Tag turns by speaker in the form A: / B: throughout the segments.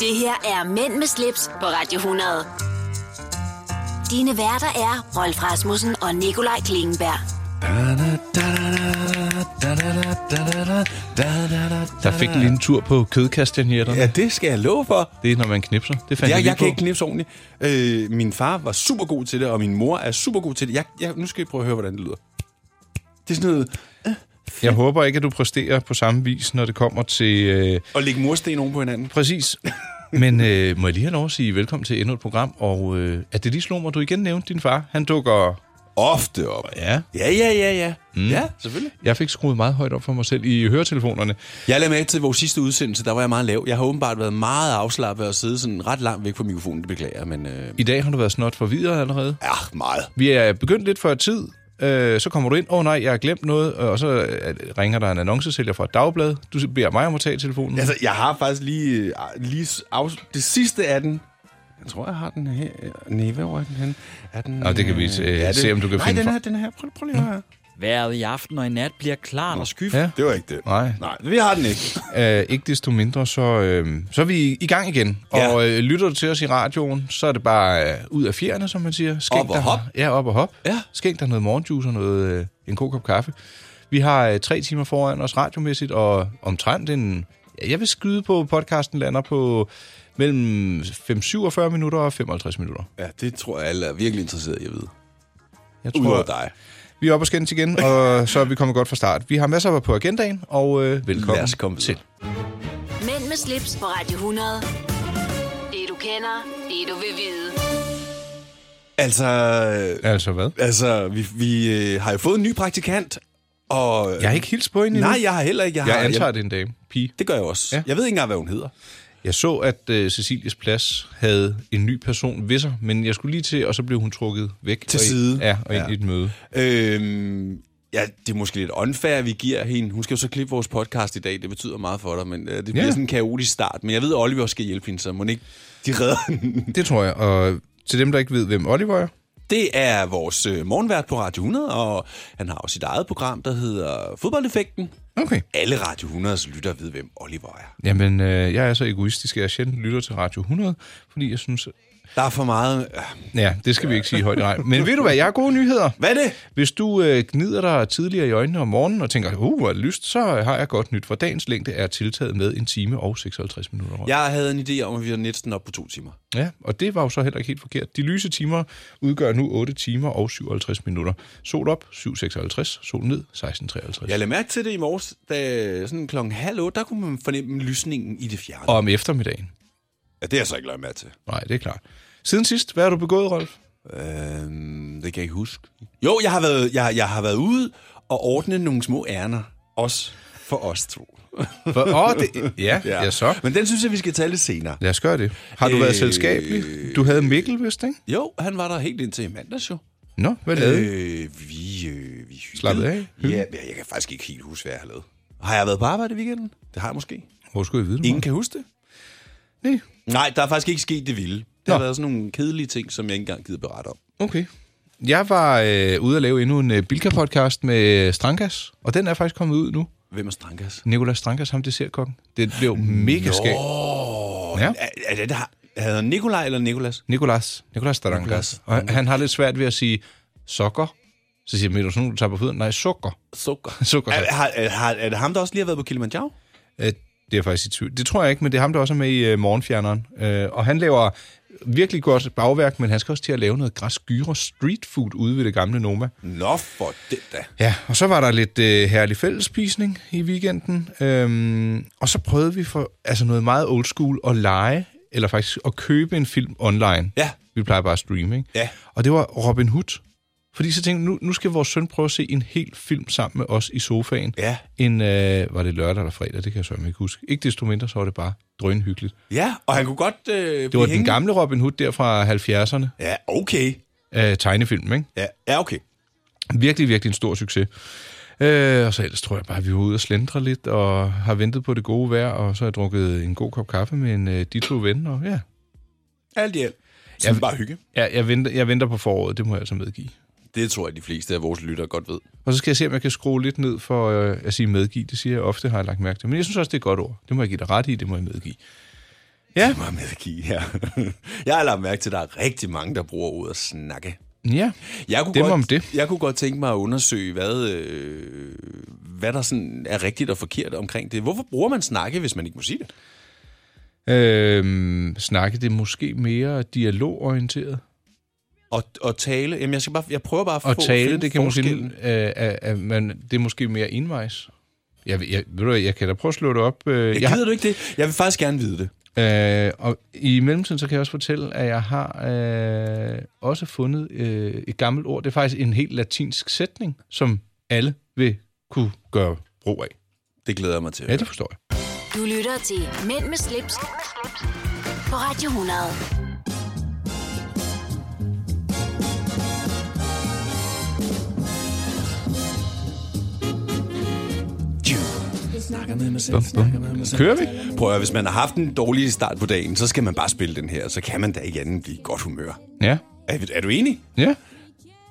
A: Det her er Mænd med slips på Radio 100. Dine værter er Rolf Rasmussen og Nikolaj Klingenberg.
B: Der fik den lige en tur på kødkastanjetterne.
C: Ja, det skal jeg love for.
B: Det er, når man knipser. Det fandt jeg,
C: Jeg,
B: lige
C: jeg
B: på.
C: kan ikke knipse ordentligt. Øh, min far var super god til det, og min mor er super god til det. Jeg, jeg, nu skal I prøve at høre, hvordan det lyder. Det er sådan noget...
B: Jeg håber ikke, at du præsterer på samme vis, når det kommer til... Øh,
C: At lægge mursten oven på hinanden.
B: præcis. Men øh, må jeg lige have lov at sige velkommen til endnu et program, og øh, at det lige slog mig, at du igen nævnte din far. Han dukker...
C: Ofte op.
B: Ja.
C: Ja, ja, ja, ja. Mm. Ja, selvfølgelig.
B: Jeg fik skruet meget højt op for mig selv i høretelefonerne.
C: Jeg lagde mærke til vores sidste udsendelse, der var jeg meget lav. Jeg har åbenbart været meget afslappet og siddet sådan ret langt væk fra mikrofonen, det beklager jeg, men... Øh,
B: I dag har du været snot forvirret allerede.
C: ja, meget.
B: Vi er begyndt lidt før tid. Øh, så kommer du ind, åh oh, nej, jeg har glemt noget, og så øh, ringer der en annoncesælger fra et dagblad. Du beder mig om at tage telefonen.
C: Altså, jeg har faktisk lige... øh, lige af, det sidste af den... Jeg tror, jeg har den her. Nej, hvor er den henne? Er den,
B: Nå, det kan vi, øh, se, om du kan
C: nej,
B: finde
C: den
B: fra-
C: her, den her. Prøv, prøv lige at høre.
D: Vejret i aften og i nat bliver klart og skyfuldt.
B: Ja.
C: Det var ikke det.
B: Nej.
C: Nej, vi har den ikke.
B: Øh, ikke desto mindre, så, øh, så er vi i gang igen.
C: Ja.
B: Og øh, lytter du til os i radioen, så er det bare øh, ud af fjerne, som man siger. Skænk
C: Op og
B: dig-
C: hop.
B: Ja, op og hop.
C: Ja.
B: Skænk dig noget morgenjuice og noget, øh, en god kop kaffe. Vi har øh, tre timer foran os radiomæssigt, og omtrent en... ja, Jeg vil skyde på, at podcasten lander på mellem 5-47 minutter og 55 minutter.
C: Ja, det tror jeg, alle er virkelig interesseret i at vide.
B: Jeg
C: Udover dig.
B: vi er oppe og skændes igen, og så er vi kommet godt fra start. Vi har masser på agendaen, og øh, velkommen
C: Lad os komme
B: til.
C: videre.
A: Mænd med slips på Radio 100. Det du kender, det du vil vide.
C: Altså,
B: Altså hvad?
C: altså vi, vi øh, har jo fået en ny praktikant, og...
B: Jeg har ikke hilst på hende endnu.
C: Nej, jeg har heller ikke. Jeg, har,
B: Jeg antager, det er en dame. Pige.
C: Det gør jeg også.
B: Ja.
C: Ja. Jeg ved ikke engang, hvad hun hedder.
B: Jeg så, at øh, Cecilies Plads havde en ny person ved sig, men jeg skulle lige til, og så blev hun trukket væk.
C: Til
B: og ind-
C: side.
B: Ja, og ind
C: Ja.
B: i et møde.
C: Øhm, ja, det er måske lidt unfair, at vi giver hende. Hun skal jo så klippe vores podcast i dag. Det betyder meget for dig, men øh, det bliver
B: Ja.
C: sådan en kaotisk start. Men jeg ved, at Oliver skal hjælpe hende, så må ikke... De redder hende.
B: Det tror jeg. Og til dem, der ikke ved, hvem Oliver er.
C: Det er vores øh, morgenvært på Radio 100, og han har jo sit eget program, der hedder Fodboldeffekten.
B: Okay.
C: Alle Radio 100's lyttere ved, hvem Oliver er.
B: Jamen, øh, jeg er så egoistisk, at jeg sjældent lytter til Radio 100, fordi jeg synes...
C: Der er for meget... Øh,
B: Ja, det skal vi ikke sige højt i regn. Men ved du hvad, jeg har gode nyheder.
C: Hvad er det?
B: Hvis du øh, gnider dig tidligere i øjnene om morgenen og tænker, uh, hvor er det lyst, så har jeg godt nyt, for dagens længde er tiltaget med en time og 56 minutter.
C: Jeg havde en idé om, at vi var næsten op på to timer.
B: Ja, og det var jo så heller ikke helt forkert. De lyse timer udgør nu 8 timer og 57 minutter. Sol op, 7.56. Sol ned, 16.53.
C: Jeg lagde mærke til det i morges, da sådan klokken halv otte, der kunne man fornemme lysningen i det fjerne.
B: Og om eftermiddagen.
C: Ja, det har jeg så ikke lagt mærke til.
B: Nej, det er klart. Siden sidst, hvad har du begået, Rolf?
C: Øhm, det kan jeg ikke huske. Jo, jeg har været, jeg, jeg har været ude og ordne nogle små ærner. Også for os to.
B: For, åh, det, ja, ja. ja, så.
C: Men den synes jeg, vi skal tale lidt senere.
B: Lad os gøre det. Har du øh... været
C: Øh.
B: selskabelig? Du havde Mikkel, vist, ikke?
C: Jo, han var der helt indtil i mandags jo.
B: Nå, hvad lavede øh...
C: Øh, vi, øh, vi
B: Slappede af?
C: Ja, men jeg kan faktisk ikke helt huske, hvad jeg har lavet. Har jeg været på arbejde i weekenden? Det har jeg måske.
B: Hvor skulle jeg vide det?
C: Ingen
B: Ingen...
C: kan huske det.
B: Nej,
C: Nej, der er faktisk ikke sket det vilde. Der har
B: Nå.
C: været sådan nogle kedelige ting, som jeg ikke engang gider berette om.
B: okay. Jeg var øh, ude at lave endnu en øh, Bilka-podcast med øh, Strankas, og den er faktisk kommet ud nu.
C: Hvem er Strankas?
B: Nicolas Strankas, ham dessertkokken. Det blev mega skægt. Ja.
C: Er, er det, der, hedder han Nikolaj eller Nikolas?
B: Nikolas. Nikolas Starankas.
C: Nicolas.
B: Og han- han har lidt svært ved at sige sokker. Så siger jeg, "Men er du sådan, nogen, du tager på fødderne? Nej, sukker.
C: Sukker.
B: Sukker.
C: Er, har, er, har, er det ham, der også lige har været på Kilimanjaro?
B: Øh, Det er jeg faktisk i tvivl. Det tror jeg ikke, men det er ham, der også er med i øh, Morgenfjerneren. Øh, Og han laver virkelig godt bagværk, men han skal også til at lave noget græsk gyro street food ude ved det gamle Noma.
C: Nå for det da.
B: Ja, og så var der lidt øh, herlig fællesspisning i weekenden. Øhm, og så prøvede vi for altså noget meget old school at lege, eller faktisk at købe en film online.
C: Ja.
B: Vi plejer bare at streame, ikke?
C: Ja.
B: Og det var Robin Hood. Fordi så tænkte jeg, nu, nu skal vores søn prøve at se en hel film sammen med os i sofaen.
C: Ja.
B: En, øh, var det lørdag eller fredag? Det kan jeg så ikke huske. Ikke desto mindre, så var det bare drønhyggeligt.
C: Ja, og han kunne godt øh,
B: Det var den gamle Robin Hood der fra 70'erne.
C: Ja, okay.
B: Øh, tegnefilm, ikke?
C: Ja, ja okay.
B: Virkelig, virkelig en stor succes. Øh, og så ellers tror jeg bare, at vi var ude og slendre lidt, og har ventet på det gode vejr, og så har jeg drukket en god kop kaffe med en, øh, de to venner. Og ja,
C: Alt i alt. Så
B: Ja,
C: ja, bare hygge.
B: jeg, jeg, venter, jeg venter på foråret, det må jeg altså medgive.
C: Det tror jeg, de fleste af vores lyttere godt ved.
B: Og så skal jeg se, om jeg kan skrue lidt ned for øh, at sige medgive. Det siger jeg ofte, har jeg lagt mærke til. Men jeg synes også, det er et godt ord. Det må jeg give dig ret i, det må jeg medgive. Ja.
C: Det må jeg medgive her. Jeg har lagt mærke til, at der er rigtig mange, der bruger ordet snakke.
B: Ja.
C: Jeg kunne,
B: Dem
C: godt,
B: om det.
C: jeg kunne godt tænke mig at undersøge, hvad, øh, hvad der sådan er rigtigt og forkert omkring det. Hvorfor bruger man snakke, hvis man ikke må sige det?
B: Øhm, snakke det er måske mere dialogorienteret.
C: Og, og tale, jamen jeg, skal bare, jeg prøver bare at
B: Og
C: få-
B: tale,
C: finde
B: det kan måske,
C: forskellen.
B: øh, er, er, man, det er måske mere envejs. Jeg, jeg, ved du, hvad, jeg kan da prøve at slå det op. Øh,
C: Jeg gider du ikke det? Jeg vil faktisk gerne vide det.
B: Øh, og i mellemtiden, så kan jeg også fortælle, at jeg har øh, også fundet øh, et gammelt ord. Det er faktisk en helt latinsk sætning, som alle vil kunne gøre brug af.
C: Det glæder jeg mig til.
B: Ja, det forstår jeg.
A: Du lytter til Mænd med slips, på Radio 100.
B: Bum, bum. Kører vi?
C: Prøv at høre, hvis man har haft en dårlig start på dagen, så skal man bare spille den her, så kan man da ikke andet end blive i godt humør.
B: Ja.
C: Er, er du enig?
B: Ja.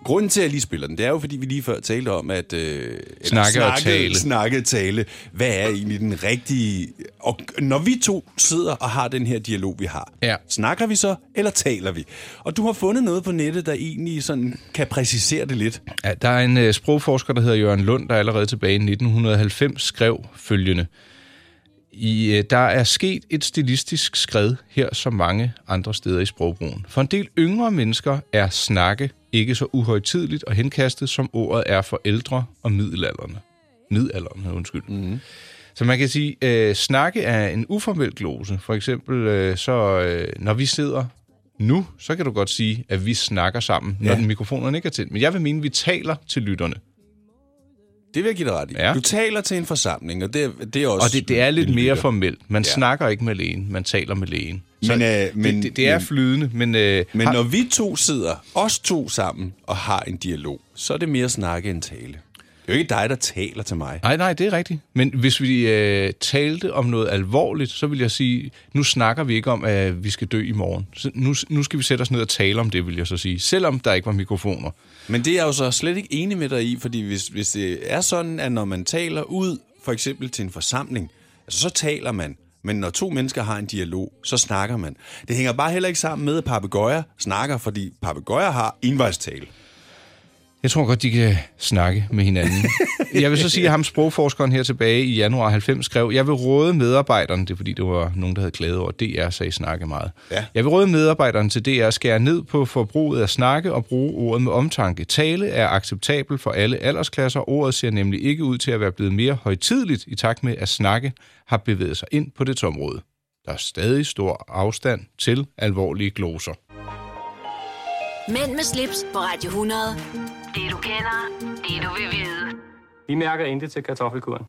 C: Grunden til, at jeg lige spiller den, det er jo, fordi vi lige før talte om, at... Øh, eller
B: Snakke og tale.
C: Snakke og tale. Hvad er egentlig den rigtige... Og når vi to sidder og har den her dialog, vi har,
B: Ja.
C: snakker vi så, eller taler vi? Og du har fundet noget på nettet, der egentlig sådan kan præcisere det lidt.
B: Ja, der er en øh, sprogforsker, der hedder Jørgen Lund, der allerede tilbage i 1990 skrev følgende. I, øh, der er sket et stilistisk skred her som mange andre steder i sprogbrugen. For en del yngre mennesker er snakke ikke så uhøjtidligt og henkastet, som ordet er for ældre og middelalderne. Middelalderne, undskyld. Mm-hmm. Så man kan sige, øh, snakke er en uformel glose. For eksempel, øh, så øh, når vi sidder nu, så kan du godt sige, at vi snakker sammen, ja. når
C: Ja.
B: den mikrofonerne ikke er tændt. Men jeg vil mene, at vi taler til lytterne.
C: Det vil jeg give dig ret i.
B: Ja.
C: Du taler til en forsamling, og det, er- det er også...
B: Og det, det er lidt
C: en
B: mere
C: lytter.
B: formelt. Man ja.
C: Ja.
B: snakker ikke med lægen, man taler med lægen.
C: Men, øh,
B: det,
C: men-
B: det, det er
C: men-
B: flydende, men... Øh,
C: Men
B: har-
C: når vi to sidder, os to sammen, og har en dialog, så er det mere snakke end tale. Det er jo ikke dig, der taler til mig.
B: Nej, nej, det er rigtigt. Men hvis vi øh, talte om noget alvorligt, så vil jeg sige, nu snakker vi ikke om, at vi skal dø i morgen. Så nu, nu skal vi sætte os ned og tale om det, vil jeg så sige. Selvom der ikke var mikrofoner.
C: Men det er jeg jo så slet ikke enig med dig i, fordi hvis, hvis det er sådan, at når man taler ud, for eksempel til en forsamling, altså så taler man, men når to mennesker har en dialog, så snakker man. Det hænger bare heller ikke sammen med, at papegøjer snakker, fordi papegøjer har envejstale.
B: Jeg tror godt, de kan snakke med hinanden. jeg vil så sige, at ham sprogforskeren her tilbage i januar 90 skrev, jeg vil råde medarbejderne, det er fordi, det var nogen, der havde klaget over, at DR sagde snakke meget.
C: Ja.
B: Jeg vil råde medarbejderne til DR at skære ned på forbruget af snakke og bruge ordet med omtanke. Tale er acceptabel for alle aldersklasser. Ordet ser nemlig ikke ud til at være blevet mere højtidligt i takt med, at snakke har bevæget sig ind på det område. Der er stadig stor afstand til alvorlige gloser.
A: Mænd med slips på Radio 100. Det du kender, det du vil vide.
E: Vi mærker intet til kartoffelkuren.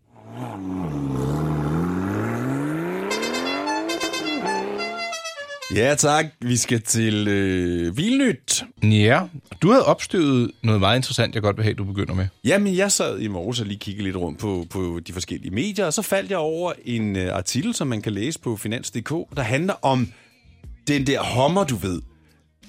C: Ja tak, vi skal til øh, Vilnyt.
B: Ja, du havde opstøvet noget meget interessant, jeg godt vil have, du begynder med.
C: Jamen, jeg sad i morges og lige kiggede lidt rundt på, på de forskellige medier, og så faldt jeg over en øh, artikel, som man kan læse på finans.dk, der handler om den der Hummer, du ved.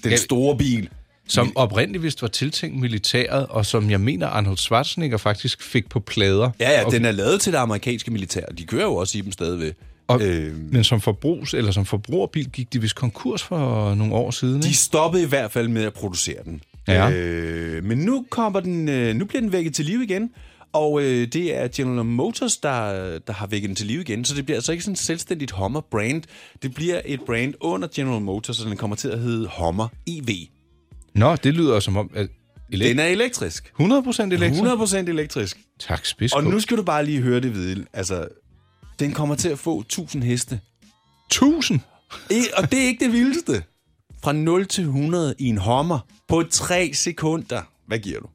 C: Den
B: Ja.
C: store bil.
B: Som oprindeligt vist var tiltænkt militæret, og som jeg mener, Arnold Schwarzenegger faktisk fik på plader.
C: Ja, ja,
B: og,
C: okay. den er lavet til det amerikanske militær, og de kører jo også i dem stadigvæk.
B: og, øh...
C: øh,
B: Men som forbrugs- eller som forbrugerbil gik de vist konkurs for nogle år siden,
C: De
B: ikke?
C: stoppede i hvert fald med at producere den.
B: Ja.
C: Øh, men nu kommer den, øh, nu bliver den vækket til live igen. Og øh, det er General Motors, der, der har vækket den til live igen. Så det bliver altså ikke sådan et selvstændigt Hummer-brand. Det bliver et brand under General Motors, så den kommer til at hedde Hummer EV.
B: Nå, det lyder som om... At elekt-
C: Den er elektrisk.
B: 100% elektrisk?
C: 100% elektrisk.
B: Tak, spids
C: Og nu skal du bare lige høre det vide. Altså, den kommer til at få 1000 heste.
B: 1000!
C: I- Og det er ikke det vildeste. Fra 0 til 100 i en Hummer på 3 sekunder. Hvad giver du?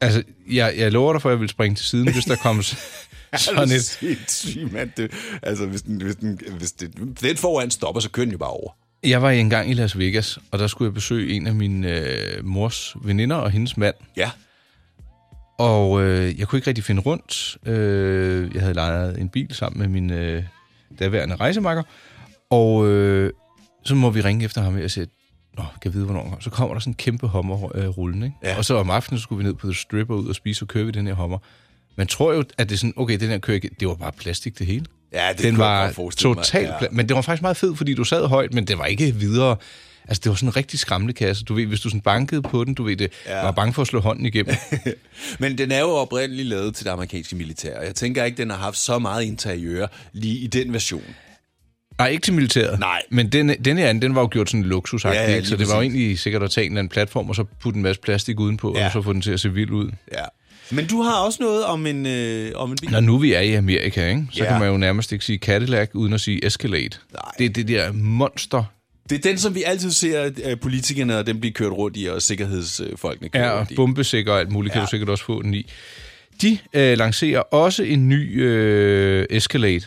B: Altså, jeg, jeg lover dig for, at jeg vil springe til siden, hvis der kom s- sådan et...
C: sindssygt, mand. Det, altså, hvis den, hvis den, hvis det, den foran stopper, så kører den jo bare over.
B: Jeg var engang i Las Vegas, og der skulle jeg besøge en af min øh, mors veninder og hendes mand.
C: Ja.
B: Og øh, jeg kunne ikke rigtig finde rundt. Øh, jeg havde lejet en bil sammen med min øh, daværende rejsemakker. Og øh, så må vi ringe efter ham her og sige, Nå, kan jeg vide, hvornår han kommer. Så kommer der sådan en kæmpe hommer øh, rullende. Ikke? Ja.
C: Ja.
B: Og så om aftenen så skulle vi ned på The Strip og ud og spise, og kører vi den her hommer. Man tror jo, at det er sådan, okay, den her kører ikke. Det var bare plastik, det hele.
C: Ja, det
B: den
C: kunne jeg
B: var
C: godt forestille mig,
B: totalt
C: ja.
B: pla- Men det var faktisk meget fed, fordi du sad højt, men det var ikke videre... Altså, det var sådan en rigtig skramlekasse. Du ved, hvis du sådan bankede på den, du ved det, ja. var bange for at slå hånden igennem.
C: Men den er jo oprindeligt lavet til det amerikanske militær, og jeg tænker ikke, den har haft så meget interiør lige i den version.
B: Nej, ikke til militæret.
C: Nej.
B: Men den, den her anden, den var jo gjort sådan luksusagtig,
C: Ja,
B: ja,
C: ja,
B: ja,
C: lige
B: så det var jo
C: præcis.
B: egentlig sikkert at tage en eller anden platform, og så putte en masse plastik udenpå, ja.
C: Ja.
B: og så få den til at se vild ud.
C: Ja. Men du har også noget om en, øh, om en bil.
B: Når nu vi er i Amerika, ikke? så
C: Ja.
B: ja. kan man jo nærmest ikke sige Cadillac, uden at sige Escalade.
C: Nej.
B: Det er det der monster.
C: Det er den, som vi altid ser øh, politikerne og dem blive kørt rundt i, og sikkerhedsfolkene kører
B: Ja, og
C: rundt i.
B: bombesikker og alt muligt, kan
C: Ja.
B: du sikkert også få den i. De øh, lancerer også en ny øh, Escalade.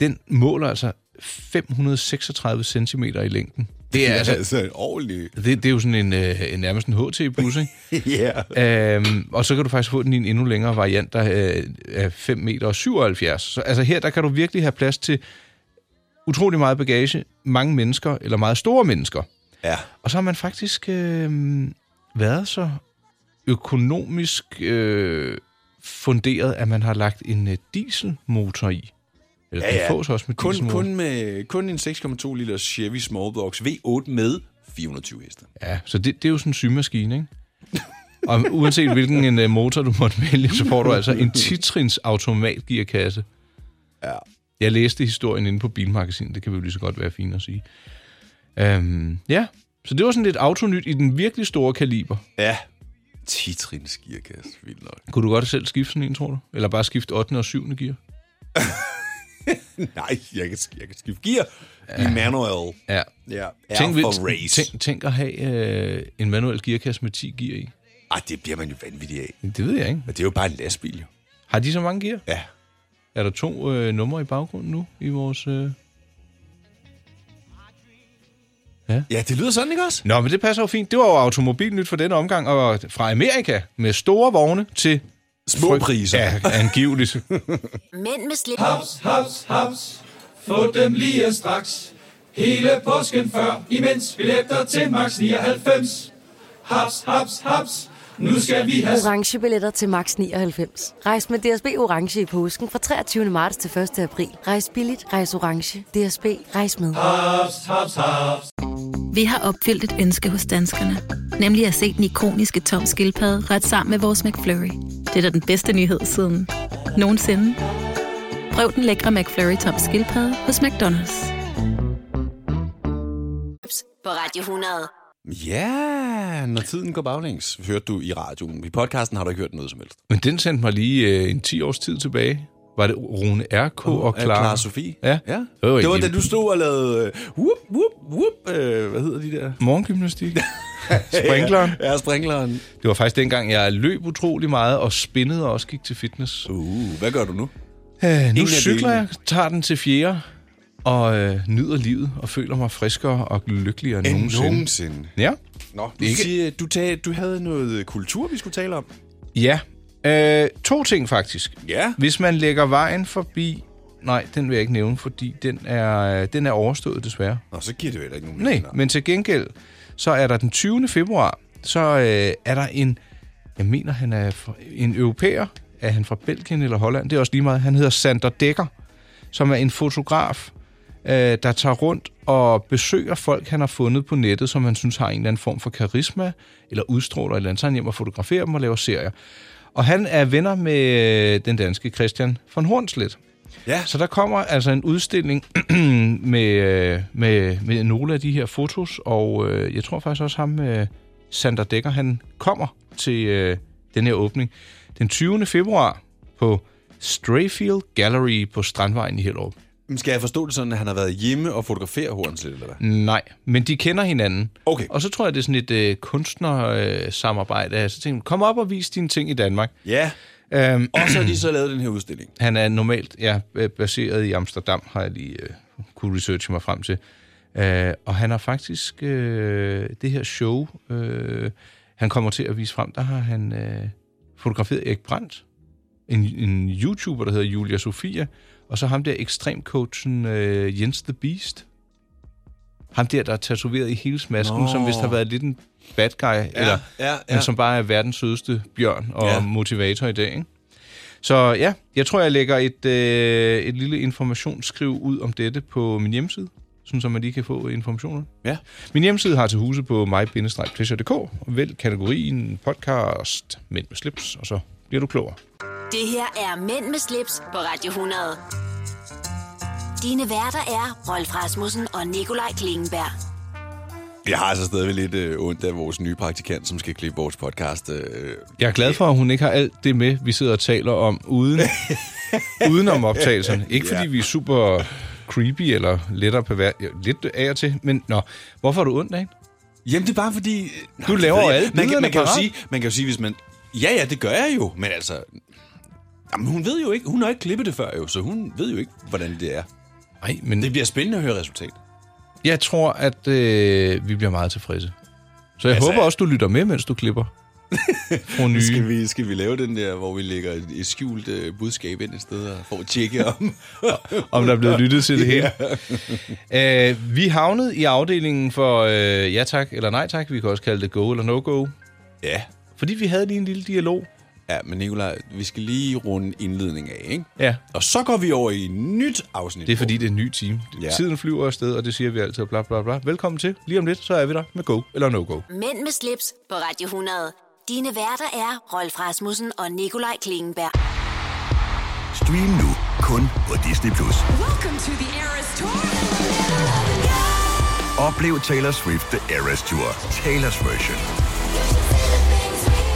B: Den måler altså 536 cm i længden. Det er, altså,
C: altså ordentligt.
B: det, det er jo sådan en, øh, en nærmest en HT-bus, ikke?
C: ja.
B: Øhm, og så kan du faktisk få den i en endnu længere variant, der øh, er 5 meter og 77. Så altså her, der kan du virkelig have plads til utrolig meget bagage, mange mennesker, eller meget store mennesker.
C: Ja.
B: Og så har man faktisk øh, været så økonomisk øh, funderet, at man har lagt en øh, dieselmotor i. Eller ja,
C: Ja,
B: ja.
C: ja.
B: den fås også med
C: Kun,
B: dieselmotor.
C: kun, med, kun en 6,2 liter Chevy Smallbox V8 med 420 heste.
B: Ja, så det, det er jo sådan en symaskine, ikke? Og uanset hvilken en, øh, motor du måtte vælge, så får du altså en titrins automatgearkasse.
C: Ja.
B: Jeg læste historien inde på Bilmagasinet, det kan vi jo lige så godt være fint at sige. Øhm, ja, så det var sådan lidt autonyt i den virkelig store kaliber.
C: Ja. Titrins gearkasse, vildt nok.
B: Kunne du godt selv skifte sådan en, tror du? Eller bare skifte 8. og 7. gear?
C: Nej, jeg kan, jeg kan skifte gear. Ja. I manual.
B: Ja.
C: Ja. R
B: Tænk,
C: for
B: hvis-
C: race.
B: Tænk, tænk at have øh, en manuel gearkasse med 10 gear i.
C: Ej, det bliver man jo vanvittig af.
B: Det ved jeg ikke.
C: Men det er jo bare en lastbil, jo.
B: Har de så mange gear?
C: Ja.
B: Er der to øh, numre i baggrunden nu i vores... Øh...
C: Ja, det lyder sådan, ikke også?
B: Nå, men det passer jo fint. Det var jo automobilnyt for denne omgang, og fra Amerika med store vogne til...
C: Små
B: frygt-
C: priser.
B: Ja, angiveligt.
A: Mænd med slips.
F: Haps, haps, haps. Få dem lige straks. Hele påsken før, imens billetter til max 99. Haps, haps, haps. Nu skal vi have
G: Orange billetter til max 99. Rejs med DSB Orange i påsken fra 23. marts til 1. april. Rejs billigt, rejs orange. DSB, rejs med.
F: haps, haps, haps.
H: Vi har opfyldt et ønske hos danskerne. Nemlig at se den ikoniske tom skildpadde ret sammen med vores McFlurry. Det er da den bedste nyhed siden nogensinde. Prøv den lækre McFlurry tom skildpadde hos McDonald's.
A: på Radio 100.
C: Ja, når tiden går baglæns, hørte du i radioen. I podcasten har du ikke hørt noget som helst.
B: men den sendte mig lige øh, en 10 års tid tilbage. Var det Rune R.K. og
C: Af
B: Clara?
C: Clara Sofie.
B: Ja.
C: ja.
B: Det var
C: Det var
B: egentlig-
C: da du stod og lavede... øh, Whoop, whoop, whoop. Øh, hvad hedder de der?
B: Morgengymnastik. Sprinkleren.
C: Ja, sprinkleren.
B: Det var faktisk dengang, jeg løb utrolig meget og spinnede og også gik til fitness.
C: Uh, hvad gør du nu?
B: Øh, nu
C: af
B: cykler
C: delene.
B: jeg, tager den til fjerde og øh, nyder livet og føler mig friskere og lykkeligere end nogensinde.
C: nogensinde.
B: Ja.
C: Nå, du,
B: Ikke-
C: ikke. Siger, du, tag, du havde noget øh, kultur, vi skulle tale om.
B: Ja. Øh, to ting faktisk.
C: Ja.
B: Hvis man lægger vejen forbi... Nej, den vil jeg ikke nævne, fordi den er, øh, den er overstået desværre.
C: Nå, så giver det jo heller ikke nogen
B: Nej,
C: mening.
B: men til gengæld, så er der den 20. februar, så øh, er der en... Jeg mener, han er fra, en europæer. Er han fra Belgien eller Holland? Det er også lige meget. Han hedder Sander Dekker, som er en fotograf, øh, der tager rundt og besøger folk, han har fundet på nettet, som han synes har en eller anden form for karisma, eller udstråler et eller andet. Så er han hjem og fotograferer dem og laver serier. Og han er venner med øh, den danske Christian von Hornslet.
C: Ja.
B: Så der kommer altså en udstilling med, øh, med, med nogle af de her fotos, og øh, jeg tror faktisk også ham, øh, Sander Dækker, han kommer til øh, den her åbning den 20. februar på Strayfield Gallery på Strandvejen i Hellerup.
C: Men Skal jeg forstå det sådan, at han har været hjemme og fotograferet Hornslet, eller hvad?
B: Nej, men de kender hinanden.
C: Okay.
B: Og så tror jeg, det er sådan et øh, kunstnersamarbejde. Øh, samarbejde. så tænkte jeg, kom op og vis dine ting i Danmark.
C: Ja.
B: Øhm,
C: Og så har de så lavet den her udstilling.
B: Han er normalt ja, øh, baseret i Amsterdam, har jeg lige øh, kunne researche mig frem til. Øh, og han har faktisk øh, det her show, øh, han kommer til at vise frem, der har han øh, fotograferet Erik Brandt, en, en YouTuber, der hedder Julia Sofia, og så ham der ekstremcoachen øh, Jens The Beast. Ham der, der er tatoveret i hele smasken,
C: Nå.
B: Nå. som vist har været lidt en bad guy, ja, eller,
C: ja,
B: men som bare er verdens sødeste bjørn og
C: Ja.
B: ja. motivator i dag. Ikke? Så ja, jeg tror, jeg lægger et, øh, et lille informationsskriv ud om dette på min hjemmeside, sådan så man lige kan få informationer.
C: Ja.
B: Min hjemmeside har til huse på mig-pleasure.dk, og vælg kategorien podcast Mænd med slips, og så bliver du klogere.
A: Det her er Mænd med slips på Radio 100. Dine værter er Rolf Rasmussen og Nikolaj Klingenberg.
C: Jeg har altså stadigvæk lidt øh, ondt af vores nye praktikant, som skal klippe vores podcast. Øh,
B: Jeg er glad for, at hun ikke har alt det med, vi sidder og taler om, uden, uden om optagelserne. Ikke fordi vi er super creepy eller lettere pervers. ja, Lidt af og til, men nå. Hvorfor er du ondt af hende?
C: Jamen, det er bare fordi... øh,
B: Du
C: nej,
B: laver
C: det ved jeg
B: alle
C: ikke. man kan,
B: billederne
C: man, kan jo
B: parat.
C: sige, man kan jo sige, hvis man... Ja, ja, det gør jeg jo, men altså... Jamen, hun ved jo ikke, hun har ikke klippet det før jo, så hun ved jo ikke, hvordan det er.
B: Nej, men
C: Det bliver spændende at høre resultatet.
B: jeg tror, at øh, vi bliver meget tilfredse. Så jeg
C: Altså,
B: håber også, du lytter med, mens du klipper. Fru nye.
C: Skal vi, skal vi lave den der, hvor vi lægger et, et skjult øh, budskab ind et sted og får tjekket om?
B: om der er blevet lyttet til det hele. Øh, vi havnede i afdelingen for øh, ja tak eller nej tak. Vi kan også kalde det go eller no go.
C: ja.
B: Fordi vi havde lige en lille dialog.
C: Ja, men Nicolaj, vi skal lige runde indledningen af, ikke?
B: Ja.
C: Og så går vi over i et nyt afsnit.
B: Det er fordi, det er en ny time.
C: Ja.
B: Ja. Tiden flyver afsted, og det siger vi altid. Bla, bla, bla. Velkommen til. Lige om lidt, så er vi der med go eller no go.
A: Mænd med slips på Radio 100. Dine værter er Rolf Rasmussen og Nikolaj Klingenberg.
I: Stream nu kun på Disney+. Plus. Oplev Taylor Swift The Eras Tour, Taylor's version.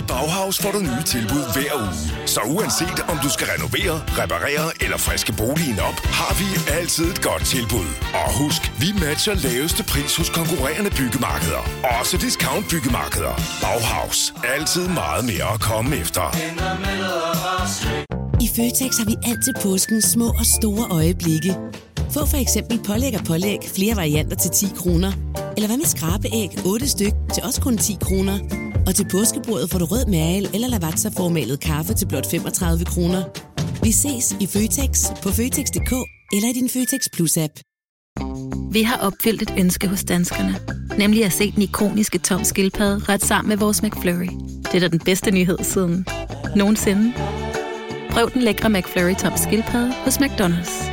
J: I Bauhaus får du nye tilbud hver uge. Så uanset om du skal renovere, reparere eller friske boligen op, har vi altid et godt tilbud. Og husk, vi matcher laveste pris hos konkurrerende byggemarkeder. Også discount byggemarkeder. Bauhaus. Altid meget mere at komme efter.
K: I Føtex har vi alt til påsken små og store øjeblikke. Få for eksempel pålæg og pålæg flere varianter til 10 kroner. Eller hvad med skrabeæg 8 styk til også kun 10 kroner. Og til påskebordet får du rød mal eller lavatserformalet kaffe til blot 35 kroner. Vi ses i Føtex på Føtex.dk eller i din Føtex Plus-app.
H: Vi har opfyldt et ønske hos danskerne. Nemlig at se den ikoniske tom skildpadde ret sammen med vores McFlurry. Det er da den bedste nyhed siden nogensinde. Prøv den lækre McFlurry tom skildpadde hos McDonald's.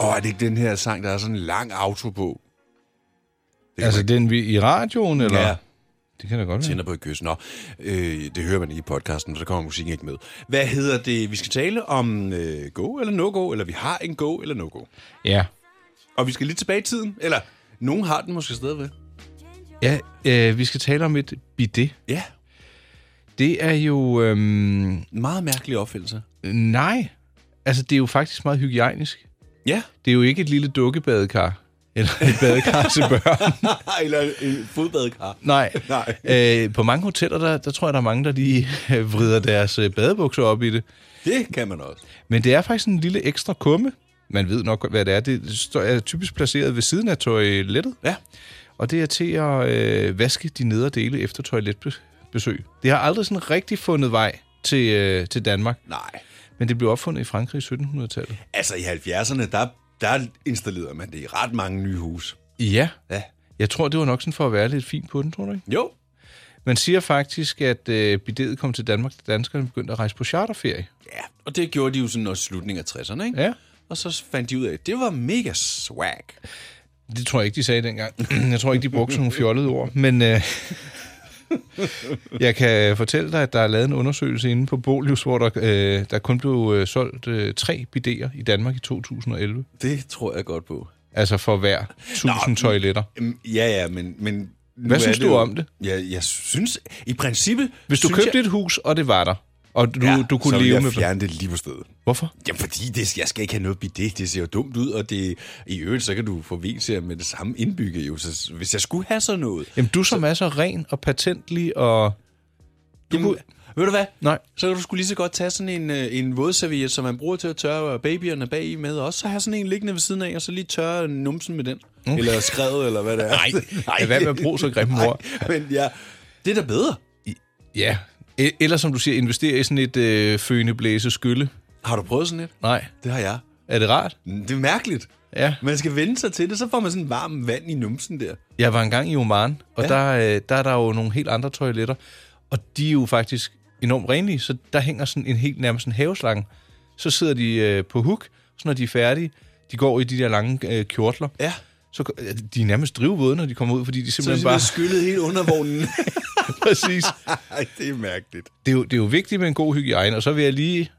C: Åh, oh, er det ikke den her sang, der er sådan en lang outro på? Det
B: Altså den vi i radioen, eller?
C: Ja.
B: Ja. Det kan da godt være.
C: Tænder på et kys. Nå, øh, det hører man ikke i podcasten, så kommer musikken ikke med. Hvad hedder det? Vi skal tale om øh, go eller no-go, eller vi har en go eller no-go.
B: Ja.
C: Og vi skal lidt tilbage i tiden, eller nogen har den måske stadigvæk.
B: Ja, øh, vi skal tale om et bidet.
C: Ja,
B: Det er jo... Øhm,
C: meget mærkelig opfældelse.
B: nej. Altså, det er jo faktisk meget hygiejnisk.
C: Ja.
B: Det er jo ikke et lille dukkebadekar. Eller et badekar til børn.
C: eller en fodbadekar.
B: Nej.
C: Nej.
B: Øh, på mange hoteller, der, der tror jeg, der er mange, der lige øh, vrider deres øh, badebukser op i det.
C: Det kan man også.
B: Men det er faktisk en lille ekstra kumme. Man ved nok, hvad det er. Det står- er typisk placeret ved siden af toilettet.
C: Ja.
B: Og det er til at øh, vaske de nederdele efter toiletbesøg. Det har aldrig sådan rigtig fundet vej til, øh, til Danmark.
C: Nej.
B: Men det blev opfundet i Frankrig i 1700-tallet.
C: Altså i 70'erne, der, der installerede man det i ret mange nye hus.
B: Ja.
C: Ja.
B: Jeg tror, det var nok sådan for at være lidt fint på den, tror du ikke?
C: Jo.
B: Man siger faktisk, at øh, bidet kom til Danmark, da danskerne begyndte at rejse på charterferie.
C: Ja, og det gjorde de jo sådan også i slutningen af 60'erne, ikke?
B: Ja.
C: Og så fandt de ud af, at det var mega swag.
B: Det tror jeg ikke, de sagde dengang. Jeg tror ikke, de brugte sådan nogle fjollede ord. Men øh, jeg kan fortælle dig, at der er lavet en undersøgelse inde på Bolius, hvor der, øh, der kun blev øh, solgt øh, tre bidéer i Danmark i 2011.
C: Det tror jeg godt på.
B: Altså for hver 1000 toiletter.
C: Jamen, Øhm, Ja, ja, men... men nu
B: Hvad
C: er
B: synes
C: det
B: du
C: jo-
B: om det?
C: Ja, jeg synes... I princippet...
B: Hvis du
C: synes
B: købte
C: jeg,
B: et hus, og det var der, og du, ja, du
C: så
B: kunne
C: ville
B: leve
C: jeg
B: med det.
C: fjerne det lige på stedet.
B: Hvorfor?
C: Jamen, fordi det, jeg skal ikke have noget bidet. Det ser jo dumt ud, og det, i øvrigt, så kan du få VC'er med det samme indbygget. Jo. Så, hvis jeg skulle have sådan noget...
B: Jamen, du som er så ren og patentlig og... Du
C: Jamen,
B: kunne...
C: ved du hvad?
B: Nej.
C: Så kan du skulle lige så godt tage sådan en, øh, en vådserviet, som man bruger til at tørre babyerne bag i med, og så have sådan en liggende ved siden af, og så lige tørre numsen med den. Mm. Eller skrevet, eller hvad det er.
B: Nej, lad være med at bruge så grimme ord.
C: men ja, det er da bedre.
B: Ja. E- Eller som du siger, investere i sådan et øh, føne blæse skylle.
C: Har du prøvet sådan et?
B: Nej.
C: Det har jeg.
B: Er det rart?
C: Det er mærkeligt.
B: Ja.
C: Man skal vende sig til det, så får man sådan varm vand i numsen der.
B: Jeg var engang i Oman, og
C: Ja.
B: ja. der, øh, der er der jo nogle helt andre toiletter. Og de er jo faktisk enormt renlige, så der hænger sådan en helt nærmest en haveslange. Så sidder de øh, på hook, så når de er færdige, de går i de der lange øh, kjortler.
C: Ja.
B: Så, ko- øh, de er nærmest drivvåde, når de kommer ud, fordi de
C: Så ligesom er
B: simpelthen,
C: det simpelthen skyllet
B: bare...
C: hele undervognen.
B: Præcis.
C: Ej, det er mærkeligt.
B: Det er, jo, det er jo vigtigt med en god hygiejne, og så vil jeg lige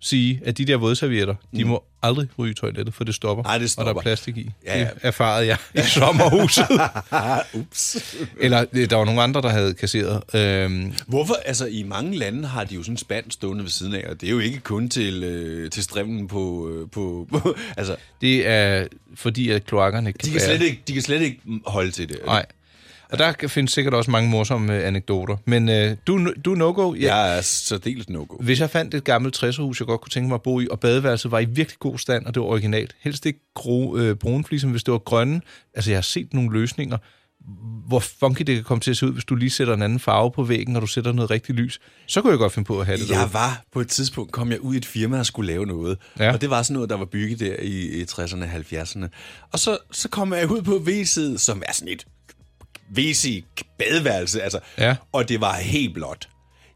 B: sige, at de der vådservietter, de må aldrig ryge i toilettet, for det stopper.
C: Ej, Mm. det
B: Og der
C: stopper.
B: er plastik i.
C: Ja,
B: Ja,
C: ja.
B: ja. Det erfarede jeg i sommerhuset.
C: Ups.
B: Eller øh, der var nogle andre, der havde kasseret. Øhm,
C: Hvorfor? Altså, i mange lande har de jo sådan en spand stående ved siden af, og det er jo ikke kun til, øh, til strømmen på, øh, på, på... Altså,
B: det er fordi, at kloakkerne ikke kan,
C: de kan,
B: bære
C: slet
B: det.
C: ikke, de kan slet ikke holde til det.
B: Nej. Og der kan- findes sikkert også mange morsomme øh, anekdoter. Men øh, du, er no- du er no-go. Ja.
C: Jeg er særdeles no-go.
B: Hvis jeg fandt et gammelt 60'erhus, jeg godt kunne tænke mig at bo i, og badeværelset var i virkelig god stand, og det var originalt. Helst ikke gro, øh, brune fliser, men hvis det var grønne. Altså, jeg har set nogle løsninger, hvor funky det kan komme til at se ud, hvis du lige sætter en anden farve på væggen, og du sætter noget rigtig lys. Så kunne jeg godt finde på at have det
C: Jeg
B: derude.
C: var på et tidspunkt, kom jeg ud i et firma og skulle lave noget. Ja.
B: Ja.
C: Og det var sådan noget, der var bygget der i, i 60'erne og 70'erne. Og så, så kom jeg ud på WC'et, som er sådan et WC-badeværelse. Altså.
B: Ja.
C: Og det var helt blåt.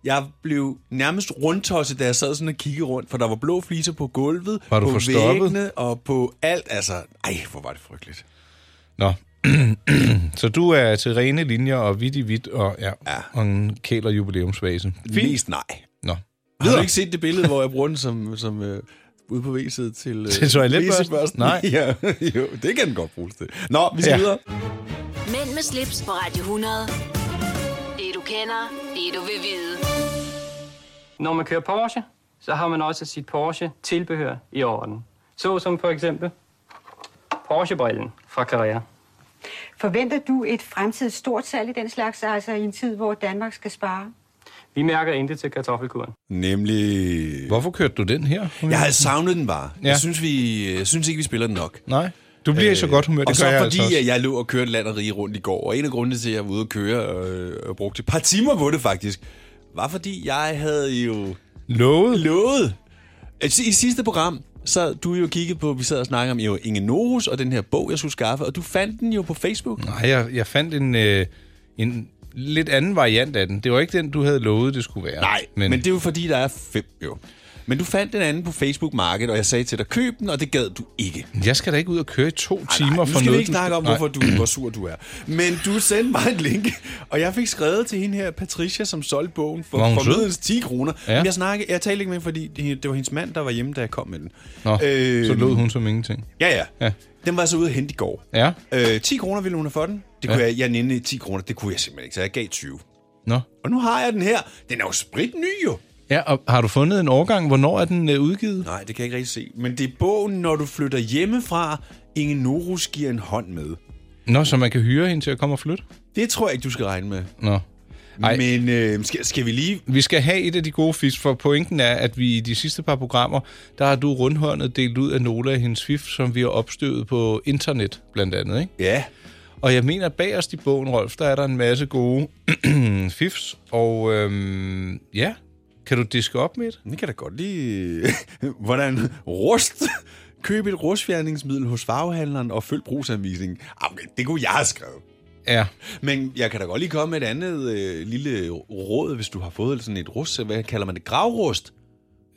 C: Jeg blev nærmest rundtosset, da jeg sad sådan og kiggede rundt, for der var blå fliser på gulvet,
B: Var du
C: på
B: forstoppet?
C: væggene og på alt. Altså, ej, hvor var det frygteligt.
B: Nå. så du er til rene linjer og vidt i vidt, og, ja,
C: Ja.
B: ja. og en kæler jubilæumsvase. Fint.
C: Mest nej.
B: Nå.
C: Har du ikke set det billede, hvor jeg bruger den som, som øh, ude på WC'et til, øh,
B: Til toiletbørsten?
C: WC-børsten?
B: Nej.
C: ja, jo, det kan den godt bruges til. Nå, vi skal ja.
B: Ja.
C: videre.
A: Mænd med slips på Radio 100. Det du kender, det du vil vide.
E: Når man kører Porsche, så har man også sit Porsche-tilbehør i orden. Så som for eksempel Porsche-brillen fra Carrera.
L: Forventer du et fremtidigt stort salg i den slags, altså i en tid, hvor Danmark skal spare?
E: Vi mærker intet til kartoffelkuren.
C: Nemlig...
B: Hvorfor kørte du den her?
C: Jeg havde savnet den bare. Ja.
B: Ja.
C: Jeg synes, vi, jeg synes ikke, vi spiller den nok.
B: Nej. Du bliver øh, i så godt humør, det
C: og så
B: gør jeg
C: fordi,
B: altså også.
C: at jeg lå og kørte land og rige rundt i går, og en af grundene til, at jeg var ude og køre øh, og, og brugte et par timer på det faktisk, var fordi, jeg havde jo
B: Lovet?
C: lovet. Altså, I sidste program så du jo kigget på, vi sad og snakkede om jo Inge Norus og den her bog, jeg skulle skaffe, og du fandt den jo på Facebook.
B: Nej, jeg, jeg fandt en, øh, en lidt anden variant af den. Det var ikke den, du havde lovet, det skulle være.
C: Nej, men, men det er jo fordi, der er fem jo. Men du fandt den anden på Facebook Market, og jeg sagde til dig, køb den, og det gad du ikke.
B: Jeg skal da ikke ud og køre i to nej, timer
C: Nej, nu
B: for
C: skal
B: noget.
C: vi ikke
B: du-
C: snakke om,
B: Nej.
C: hvorfor du, hvor sur du er. Men du sendte mig en link, og jeg fik skrevet til hende her, Patricia, som solgte bogen for,
B: Var hun
C: for
B: sød?
C: middels 10 kroner.
B: Ja.
C: Ja. Jeg, snakkede, jeg talte ikke med hende, fordi det, det var hendes mand, der var hjemme, da jeg kom med den.
B: Nå, øh, så
C: Øhm,
B: lød hun som ingenting.
C: Ja, ja. ja.
B: Ja.
C: Den var så ude at hente i går.
B: Ja.
C: Øh, 10 kroner ville hun have for den. Det kunne ja. jeg, jeg nænde 10 kroner, det kunne jeg simpelthen ikke, så jeg gav 20.
B: Nå.
C: Og nu har jeg den her. Den er jo spritny jo.
B: Ja, og har du fundet en årgang? Hvornår er den øh, udgivet?
C: Nej, det kan jeg ikke rigtig se. Men det er bogen, når du flytter hjemmefra, Inge Norus giver en hånd med.
B: Nå, så man kan hyre hende til at komme og flytte?
C: Det tror jeg ikke, du skal regne med.
B: Nå.
C: Ej.
B: Ej.
C: Men øh, skal, skal vi lige...
B: Vi skal have et af de gode fisk, for pointen er, at vi i de sidste par programmer, der har du rundhåndet delt ud af nogle af hendes fif, som vi har opstøvet på internet, blandt andet, ikke?
C: Ja.
B: Og jeg mener, at bagerst i bogen, Rolf, der er der en masse gode fifs. Og øhm, ja, kan du diske op med et?
C: Det kan da godt lige... Hvordan rust... Køb et rustfjerningsmiddel hos farvehandleren og følg brugsanvisningen. Ah, Okay, det kunne jeg have skrevet.
B: Ja.
C: Men jeg kan da godt lige komme med et andet øh, lille råd, hvis du har fået sådan et rust. Hvad kalder man det? Gravrust?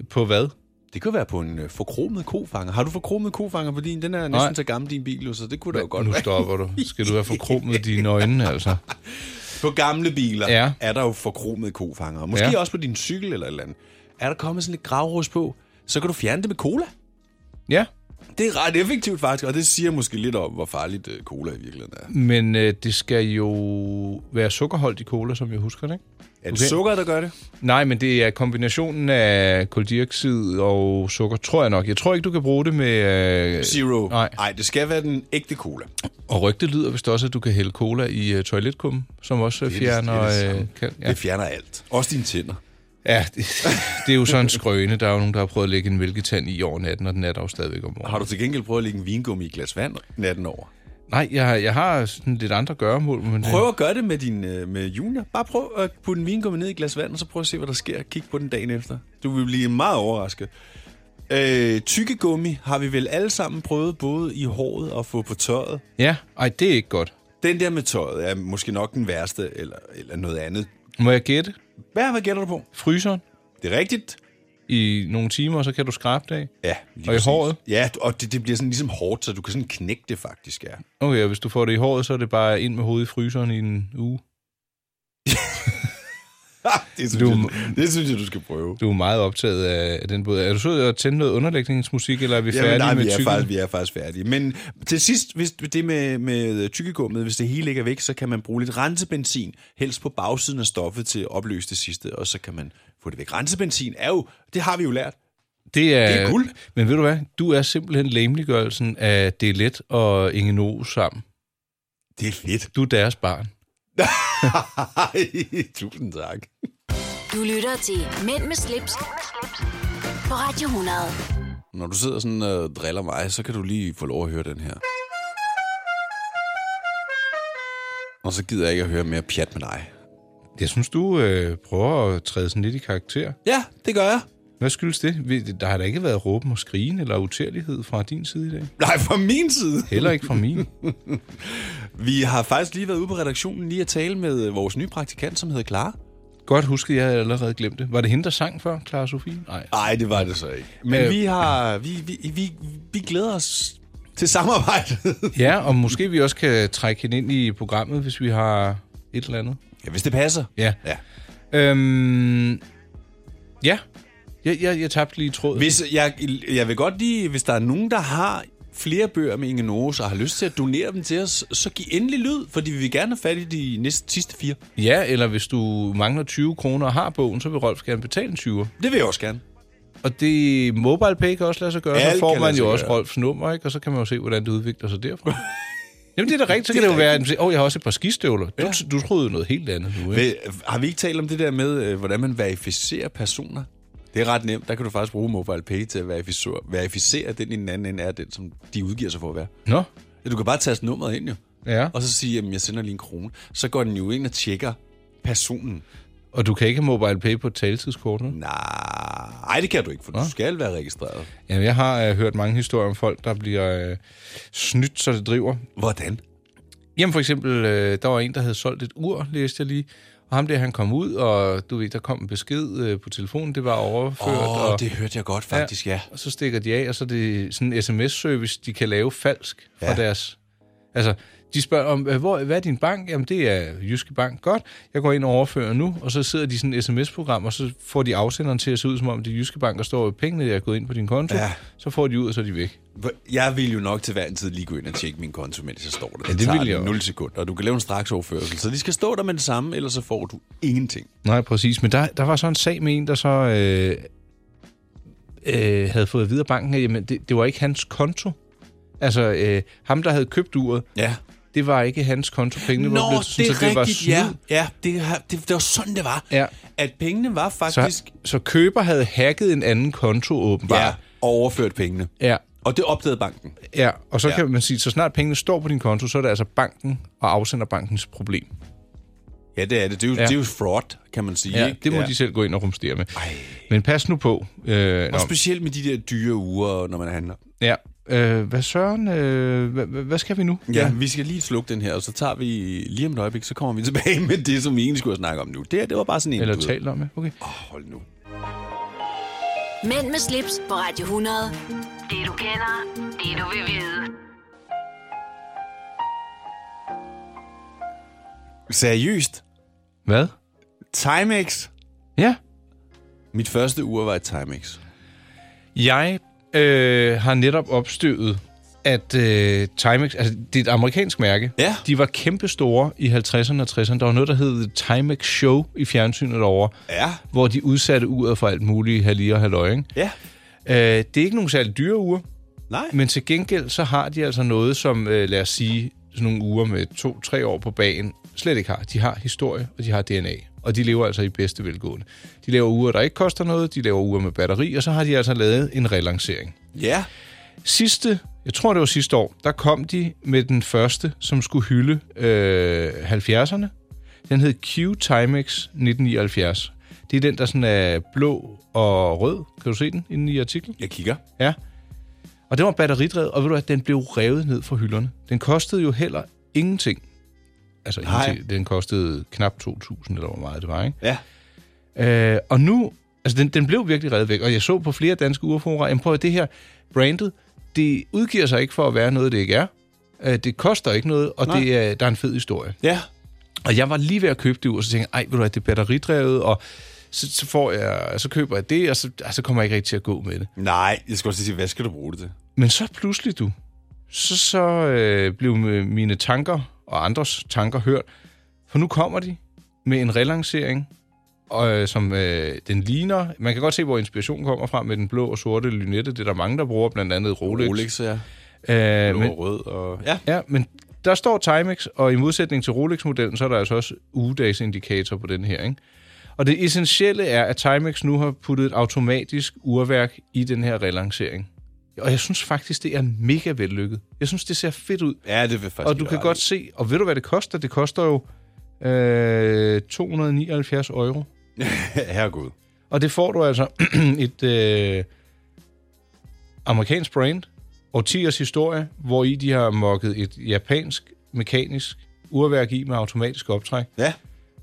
B: På hvad?
C: Det kunne være på en øh, forkromet kofanger. Har du forkromet kofanger på din? Den er næsten
B: Nej.
C: så gammel, din bil, jo, så det kunne da jo godt
B: nu
C: være.
B: stopper du. Skal du have forkromet dine øjne, altså?
C: På gamle biler ja.
B: Ja.
C: er der jo forkromede kofanger. Måske ja.
B: Ja.
C: også på din cykel eller et eller andet. Er der kommet sådan lidt gravrust på, så kan du fjerne det med cola.
B: Ja,
C: Det er ret effektivt faktisk, og det siger måske lidt om, hvor farligt øh, cola i virkeligheden er.
B: men øh, det skal jo være sukkerholdt i cola, som jeg husker det, ikke?
C: Er det
B: Okay.
C: sukker, der gør det?
B: Nej, men det er kombinationen af koldioxid og sukker, tror jeg nok. Jeg tror ikke, du kan bruge det med... Øh,
C: Zero.
B: Nej.
C: Nej, det skal være den ægte cola.
B: Og rygte lyder vist også, at du kan hælde cola i øh, toiletkummen, som også
C: det-
B: fjerner...
C: det er det samme.
B: øh, kan,
C: Ja. Det fjerner alt. Også dine tænder.
B: Ja, det, det er jo sådan en skrøne. Der er jo nogen, der har prøvet at lægge en mælketand i over natten, og den er der jo stadigvæk om morgenen.
C: Har du til gengæld prøvet at lægge en vingummi i et glas vand natten over?
B: Nej, jeg, jeg har sådan lidt andre gøremål. Men
C: Prøv at gøre det med, din, øh, med junior. Bare prøv at putte en vingummi ned i et glas vand, og så prøv at se, hvad der sker. Kig på den dagen efter. Du vil blive meget overrasket. Øh, tykkegummi har vi vel alle sammen prøvet både i håret og få på tøjet.
B: Ja, ej, det er ikke godt.
C: Den der med tøjet er måske nok den værste, eller, eller noget andet.
B: Må jeg gætte?
C: Hvad, hvad gætter du på?
B: Fryseren.
C: Det er rigtigt.
B: I nogle timer, så kan du skrabe det af.
C: Ja.
B: Og i håret?
C: Ja, og det, det bliver sådan ligesom hårdt, så du kan sådan knække det faktisk, ja.
B: Okay, og hvis du får det i håret, så er det bare ind med hovedet i fryseren i en uge.
C: det,
B: Du-
C: jeg, det synes jeg, du skal prøve.
B: Du er meget optaget af af den båd. Er du sød at tænde noget underlægningsmusik, eller er vi færdige
C: Jamen, nej,
B: med
C: vi er,
B: tykken?
C: faktisk, vi er faktisk færdige. Men til sidst, hvis det med, med tykkegummet, hvis det hele ikke er væk, så kan man bruge lidt rensebenzin, helst på bagsiden af stoffet til at opløse det sidste, og så kan man få det væk. Rensebenzin er jo, det har vi jo lært.
B: Det er,
C: Det er guld.
B: Men ved du hvad? Du er simpelthen lameliggørelsen af Det er let og Inge No sammen.
C: Det er fedt.
B: Du er deres barn.
C: Ej, Tusind tak.
A: Du lytter til Mænd med slips, på Radio 100.
C: Når du sidder sådan og øh, driller mig, så kan du lige få lov at høre den her. Og så gider jeg ikke at høre mere pjat med dig.
B: Jeg synes, du øh, prøver at træde sådan lidt i karakter.
C: Ja, det gør jeg.
B: Hvad skyldes det? Vi- Der har da ikke været råben og skrigen eller utærlighed fra din side i dag.
C: Nej, fra min side.
B: Heller ikke fra min.
C: Vi har faktisk lige været ude på redaktionen lige at tale med øh, vores nye praktikant, som hedder Clara.
B: Godt husket, jeg havde allerede glemt det. Var det hende, der sang før, Clara Sofie? Nej.
C: Nej, det var det så ikke. Men
B: Øh,
C: vi har vi, vi, vi, vi glæder os til samarbejdet.
B: Ja, og måske vi også kan trække hende ind i programmet, hvis vi har et eller andet.
C: Ja, hvis det passer.
B: Ja.
C: Ja.
B: Øhm, ja. Jeg, jeg, jeg tabte lige tråden.
C: Hvis jeg, jeg vil godt lige, hvis der er nogen, der har flere bøger med Inge Norge, og har lyst til at donere dem til os, så giv endelig lyd, fordi vi vil gerne have fat i de næste sidste fire.
B: Ja, eller hvis du mangler 20 kroner og har bogen, så vil Rolf gerne betale en 20.
C: Det vil jeg også gerne.
B: Og det mobile pay kan også lade sig gøre.
C: Alt
B: så får
C: kan lade
B: man
C: sig
B: jo også
C: gøre.
B: Rolfs nummer, ikke? og så kan man jo se, hvordan det udvikler sig derfra. Jamen det er da rigtigt, så kan det, jo være, at åh, jeg har også et par skistøvler. Du, du troede jo noget helt andet nu, ikke?
C: Men, har vi ikke talt om det der med, øh, hvordan man verificerer personer? Det er ret nemt. Der kan du faktisk bruge MobilePay til at verificere, verificere at den i den anden ende er den, som de udgiver sig for at være.
B: Nå,
C: Ja, du kan bare taste nummeret ind jo,
B: ja.
C: og så sige, at jeg sender lige en krone. Så går den jo ind og tjekker personen.
B: Og du kan ikke have mobile pay på et taletidskort, nu?
C: Nej, det kan du ikke, for du skal være registreret.
B: Jamen, jeg har øh, hørt mange historier om folk, der bliver øh, snydt, så det driver.
C: Hvordan?
B: Jamen for eksempel, øh, der var en, der havde solgt et ur, læste jeg lige. Og ham der, han kom ud, og du ved, der kom en besked øh, på telefonen, det var overført.
C: Åh,
B: og,
C: det hørte jeg godt faktisk, ja.
B: Og så stikker de af, og så er det sådan en sms-service, de kan lave falsk fra deres... Altså, de spørger om, "Øh, hvor, hvad er din bank? Jamen, det er Jyske Bank. Godt, jeg går ind og overfører nu, og så sidder de i sådan et sms-program, og så får de afsenderen til at se ud, som om det er Jyske Bank, og står pengene, jeg er gået ind på din konto.
C: Ja.
B: Så får de ud, og så er de væk.
C: Jeg vil jo nok til hver en tid lige gå ind og tjekke min konto, mens jeg står der.
B: det
C: tager
B: vil jeg også.
C: 0 sekunder, og du kan lave en straks overførsel. Så de skal stå der med det samme, ellers så får du ingenting.
B: Nej, præcis. Men der, der var så en sag med en, der så øh, øh, havde fået videre banken, at jamen, det, det var ikke hans konto. Altså, øh, ham, der havde købt uret,
C: Ja.
B: det var ikke hans konto. Pengene
C: Nå,
B: var blevet,
C: det er
B: så det var
C: rigtigt,
B: snyd.
C: ja. Ja, det, har- det, det var sådan, det var.
B: Ja.
C: At pengene var faktisk...
B: Så, så køber havde hacket en anden konto, åbenbart.
C: ja, overført pengene.
B: Ja.
C: Og det opdagede banken.
B: Ja, og så
C: Ja.
B: ja. kan man sige, så snart pengene står på din konto, så er det altså banken og afsenderbankens problem.
C: Ja, det er det. Det er jo, ja.
B: Ja.
C: det er jo fraud, kan man sige.
B: Ja,
C: ikke?
B: det må
C: ja.
B: ja. de selv gå ind og rumstere med. Ej. Men pas nu på. Øh, nå,
C: Og specielt med de der dyre uger, når man handler.
B: ja. øh, hvad søren, øh, hvad, hvad hvad skal vi nu?
C: Ja, ja, vi skal lige slukke den her, og så tager vi lige om et øjeblik, så kommer vi tilbage med det, som vi egentlig skulle snakke om nu. Det her, det var bare sådan en...
B: Eller
C: du ved.
B: talt om det? Okay.
C: Åh, oh, hold nu.
A: Mænd med slips på Radio 100. Det du kender, det du vil vide.
C: Seriøst?
B: Hvad?
C: Timex?
B: Ja.
C: Mit første ur var et Timex.
B: Jeg øh, har netop opstøvet, at øh, Timex, altså det er et amerikansk mærke,
C: Ja.
B: de var kæmpestore i 50'erne og 60'erne. Der var noget, der hed Timex Show i fjernsynet derovre,
C: Ja.
B: hvor de udsatte uret for alt muligt halvlige og halvøje. ikke?
C: Ja.
B: Øh, det er ikke nogen særlig dyre uger,
C: Nej.
B: men til gengæld så har de altså noget, som øh, lad os sige, sådan nogle uger med to-tre år på bagen slet ikke har. De har historie, og de har DNA. Og de lever altså i bedste velgående. De laver uger, der ikke koster noget, de laver uger med batteri, og så har de altså lavet en relancering.
C: Ja.
B: Sidste jeg tror det var sidste år, der kom de med den første, som skulle hylde øh, 70'erne. Den hed Q Timex 1979. Det er den, der sådan er blå og rød. Kan du se den inde i artiklen?
C: Jeg kigger.
B: Ja. Og det var batteridrevet, og ved du at den blev revet ned fra hylderne. Den kostede jo heller ingenting. Altså,
C: Nej.
B: ingenting. den kostede knap 2.000, eller hvor meget det var, ikke?
C: Ja.
B: Øh, og nu, altså den, den blev virkelig reddet væk, og jeg så på flere danske urfora, jamen prøv at det her brandet, det udgiver sig ikke for at være noget, det ikke er. Øh, det koster ikke noget, og
C: Nej.
B: det er, der er en fed historie.
C: Ja.
B: Og jeg var lige ved at købe det ur, og så tænkte jeg, ej, ved du hvad, det er batteridrevet, og så, så, får jeg, så køber jeg det, og så, og så kommer jeg ikke rigtig til at gå med det.
C: Nej, jeg skulle også lige sige, hvad skal du bruge det til?
B: Men så pludselig, du, så, så øh, blev m- mine tanker og andres tanker hørt. For nu kommer de med en relancering, og, øh, som øh, den ligner. Man kan godt se, hvor inspirationen kommer fra med den blå og sorte lynette. Det er der mange, der bruger, blandt andet Rolex.
C: Rolex, ja.
B: Øh,
C: Blå
B: men,
C: og rød og...
B: ja. ja, men der står Timex, og i modsætning til Rolex-modellen, så er der altså også ugedagsindikator på den her, ikke? Og det essentielle er, at Timex nu har puttet et automatisk urværk i den her relancering. Og jeg synes faktisk, det er mega vellykket. Jeg synes, det ser fedt ud.
C: Ja, det vil faktisk
B: Og du
C: være
B: kan
C: ret
B: godt se, og ved du, hvad det koster? Det koster jo øh, 279 euro.
C: Herregud.
B: Og det får du altså et øh, amerikansk brand, årtiers historie, hvor i de har mokket et japansk mekanisk urværk i med automatisk optræk.
C: Ja.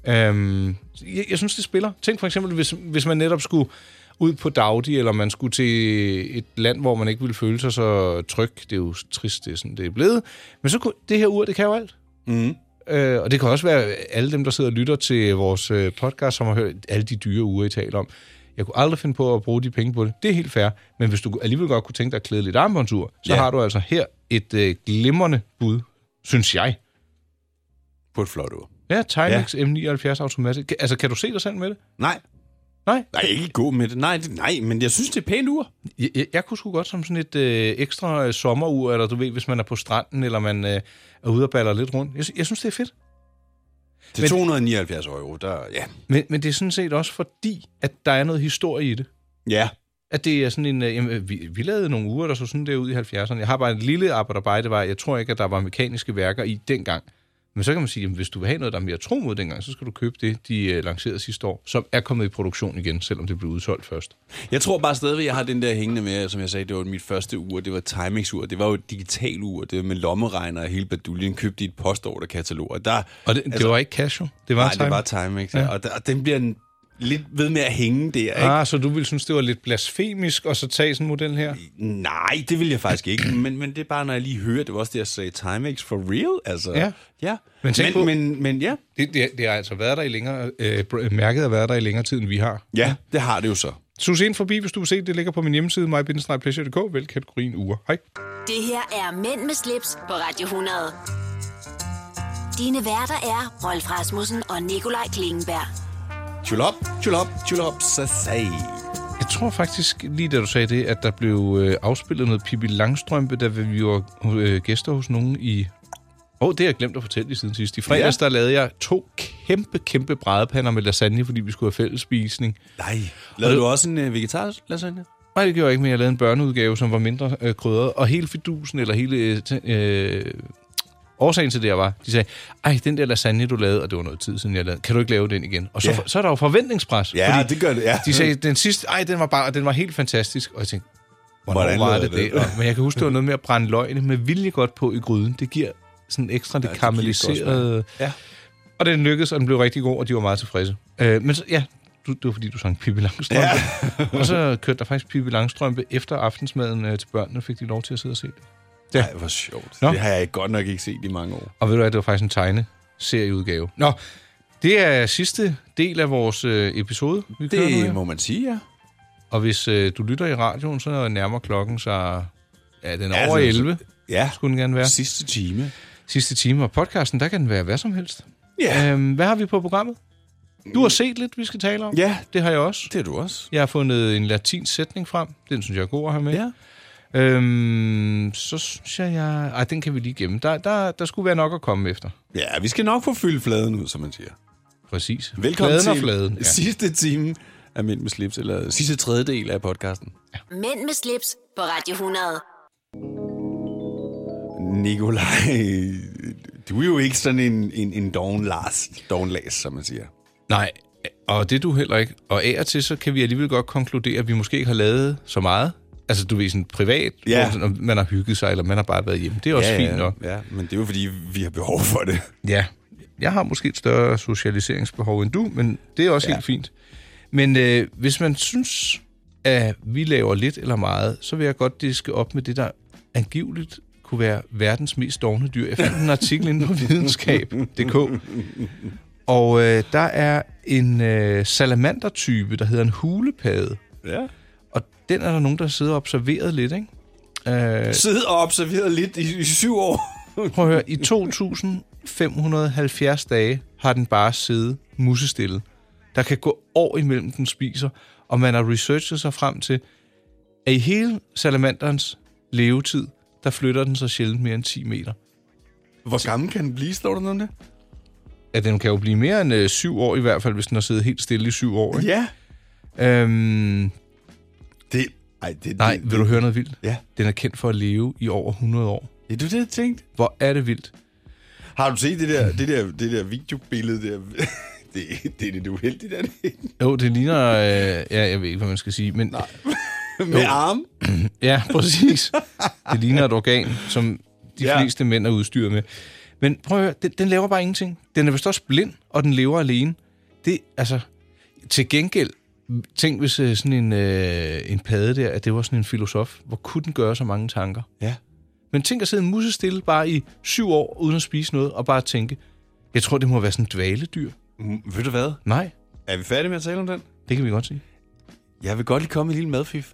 B: Øhm, jeg, jeg synes, det spiller. Tænk for eksempel, hvis, hvis man netop skulle ud på Daudi, eller man skulle til et land, hvor man ikke ville føle sig så tryg. Det er jo trist, det er sådan, det er blevet. Men så kunne, det her ur, det kan jo alt.
C: Mm.
B: Øh, og det kan også være alle dem, der sidder og lytter til vores øh, podcast, som har hørt alle de dyre uger, I taler om. Jeg kunne aldrig finde på at bruge de penge på det. Det er helt fair. Men hvis du alligevel godt kunne tænke dig at klæde lidt armbåndsur, så
C: Ja.
B: ja. har du altså her et øh, glimrende bud, synes jeg.
C: På et flot ur.
B: Ja, Timex ja. M79 Automatic. Kan- Altså, kan du se dig selv med det?
C: Nej.
B: Nej?
C: Nej, ikke gå med det. Nej, det, nej, men jeg synes, det er et pænt ur.
B: Jeg, jeg, jeg kunne sgu godt som sådan et øh, ekstra øh, sommerur, eller du ved, hvis man er på stranden, eller man øh, er ude og baller lidt rundt. Jeg, sy- jeg synes, det er fedt.
C: Til 279 euro, der... Ja.
B: Men, men det er sådan set også fordi, at der er noget historie i det.
C: Ja.
B: At det er sådan en... Øh, jamen, øh, vi, vi lavede nogle uger, der så sådan der ud i 70'erne. Jeg har bare et lille arbejde, var, jeg tror ikke, at der var mekaniske værker i dengang. Men så kan man sige, at hvis du vil have noget, der er mere tro mod dengang, så skal du købe det, de øh, lancerede sidste år, som er kommet i produktion igen, selvom det blev udsolgt først.
C: Jeg tror bare stadigvæk, jeg har den der hængende med, som jeg sagde, det var mit første ur, det var timingsur, det var jo et digital ur, det var med lommeregner og hele baduljen, købte i et postorder katalog, og der...
B: Og det, altså, det var ikke Casio? Det var
C: nej,
B: Timex?
C: det var Timex, ja.
B: Ja.
C: og, der, og den bliver en- lidt ved med at hænge der, ikke?
B: Ah, så du ville synes, det var lidt blasfemisk at så tage sådan en model her?
C: Nej, det vil jeg faktisk ikke, men, men det er bare, når jeg lige hører, det var også det, jeg sagde, Timex for real, altså.
B: Ja.
C: ja.
B: Men tænk
C: men,
B: på-
C: men, men ja,
B: Det, det, det har altså været der i længere... Øh, br- mærket har været der i længere tid, end vi har.
C: ja, det har det jo så.
B: Sus ind forbi, hvis du vil se, det. det ligger på min hjemmeside, mybindestrejpleasure.dk, vælg kategorien uger. Hej.
A: Det her er Mænd med slips på Radio 100. Dine værter er Rolf Rasmussen og Nikolaj Klingenberg.
C: Chill up, chill up, chill up, så sag.
B: Jeg tror faktisk, lige da du sagde det, at der blev øh, afspillet noget Pippi Langstrømpe, da vi var øh, gæster hos nogen i... Åh, oh, det har jeg glemt at fortælle lige siden sidst. I fredags, ja. der lavede jeg to kæmpe, kæmpe brædepander med lasagne, fordi vi skulle have fælles spisning.
C: Nej, lavede du også en øh, vegetarisk lasagne?
B: Nej, det gjorde jeg ikke, men jeg lavede en børneudgave, som var mindre øh, krydret. Og hele fidusen, eller hele... Øh, t- øh, årsagen til det her var, de sagde, ej, den der lasagne, du lavede, og det var noget tid siden, jeg lavede, kan du ikke lave den igen? Og så,
C: Ja.
B: ja. så er der jo forventningspres.
C: Ja, det gør det, ja.
B: De sagde, den sidste, ej, den var, bare, den var helt fantastisk. Og jeg tænkte, hvornår
C: Hvordan
B: Hvordan var
C: lavede
B: det
C: jeg
B: det?
C: det?
B: Og, men jeg kan huske, det var noget med at brænde løgene med vilje godt på i gryden. Det giver sådan ekstra det
C: Ja,
B: ja,
C: det giver et godt smag.
B: karamelliserede...
C: Ja.
B: Og den lykkedes, og den blev rigtig god, og de var meget tilfredse. Øh, men så, ja, du, det var fordi, du sang Pippi Langstrømpe. Ja. og så kørte der faktisk Pippi Langstrømpe efter aftensmaden øh, til børnene, fik de lov til at sidde og se det.
C: Ja. Ej, hvor sjovt. Nå.
B: Nå.
C: Det har jeg ikke godt nok ikke set i mange år.
B: Og ved du hvad, det var faktisk en tegneserieudgave. Nå, det er sidste del af vores øh, episode, vi kører nu,
C: Det
B: ja.
C: må man sige, ja.
B: Og hvis øh, du lytter i radioen, så nærmer klokken sig... Ja, den er
C: Ja,
B: over
C: den er så-
B: 11,
C: Ja,
B: skulle den gerne være.
C: sidste time.
B: Sidste time, og podcasten, der kan den være hvad som helst.
C: Ja.
B: Øhm, hvad har vi på programmet? Du har set lidt, vi skal tale om.
C: Ja,
B: Det har jeg også.
C: det er du også.
B: Jeg har fundet en latinsk sætning frem. Den synes jeg er god at have med.
C: Ja.
B: Øhm, så synes jeg, jeg... Ej, den kan vi lige gemme. Der, der, der skulle være nok at komme efter.
C: Ja, vi skal nok få fyldt fladen ud, som man siger.
B: Præcis.
C: Velkommen
B: Fladen og
C: til
B: fladen. Ja.
C: sidste time af Mænd med slips, eller sidste tredjedel af podcasten.
A: Mænd med slips på Radio 100.
C: Nikolaj, du er jo ikke sådan en, en, en doven Lars, doven Lars, som man siger.
B: Nej, og det er du heller ikke. Og af og til, så kan vi alligevel godt konkludere, at vi måske ikke har lavet så meget. Altså, du ved, sådan privat,
C: Ja.
B: hvor sådan, man har hygget sig, eller man har bare været hjemme. Det er også
C: ja,
B: fint
C: ja,
B: nok.
C: Ja, men det er jo fordi, vi har behov for det.
B: Ja, jeg har måske et større socialiseringsbehov end du, men det er også ja. helt fint. Men øh, hvis man synes, at vi laver lidt eller meget, så vil jeg godt diske op med det, der angiveligt kunne være verdens mest dovne dyr. Jeg fandt en artikel inde på videnskab.dk, og øh, der er en øh, salamandertype, der hedder en hulepade.
C: Ja.
B: Og den er der nogen, der sidder og observeret lidt, ikke? Øh,
C: Sidde og observeret lidt i, i syv år.
B: Prøv at høre, i 2570 dage har den bare siddet musestille. Der kan gå år imellem, den spiser, og man har researchet sig frem til, at i hele salamanderens levetid, der flytter den så sjældent mere end 10 meter.
C: Hvor gammel kan den blive, står der noget om det?
B: Ja, den kan jo blive mere end øh, syv år i hvert fald, hvis den har siddet helt stille i syv år. Ikke?
C: Ja.
B: Øhm,
C: det, ej, det,
B: nej,
C: det-
B: vil du høre noget vildt?
C: Ja.
B: Den er kendt for at leve i over 100 år.
C: Ja, du det, jeg tænkte.
B: Hvor er det vildt?
C: Har du set det der, det der, det der videobillede der? det, det er lidt uheldigt, er det ikke?
B: Jo, det ligner... Øh, ja, jeg ved ikke, hvad man skal sige, men... Nej.
C: Med arm?
B: ja, præcis. Det ligner et organ, som de
C: Ja.
B: ja. fleste mænd er udstyret med. Men prøv at høre, den, den laver bare ingenting. Den er vist også blind, og den lever alene. Det, altså, til gengæld, tænk hvis øh, sådan en, øh, en padde der, at det var sådan en filosof. Hvor kunne den gøre så mange tanker?
C: Ja.
B: Men tænk at sidde musestille bare i syv år, uden at spise noget, og bare tænke, jeg tror, det må være sådan en dvaledyr.
C: Mm, ved du hvad?
B: Nej,
C: Er vi færdige med at tale om den?
B: det kan vi godt sige.
C: Jeg vil godt lige komme med en lille madfif.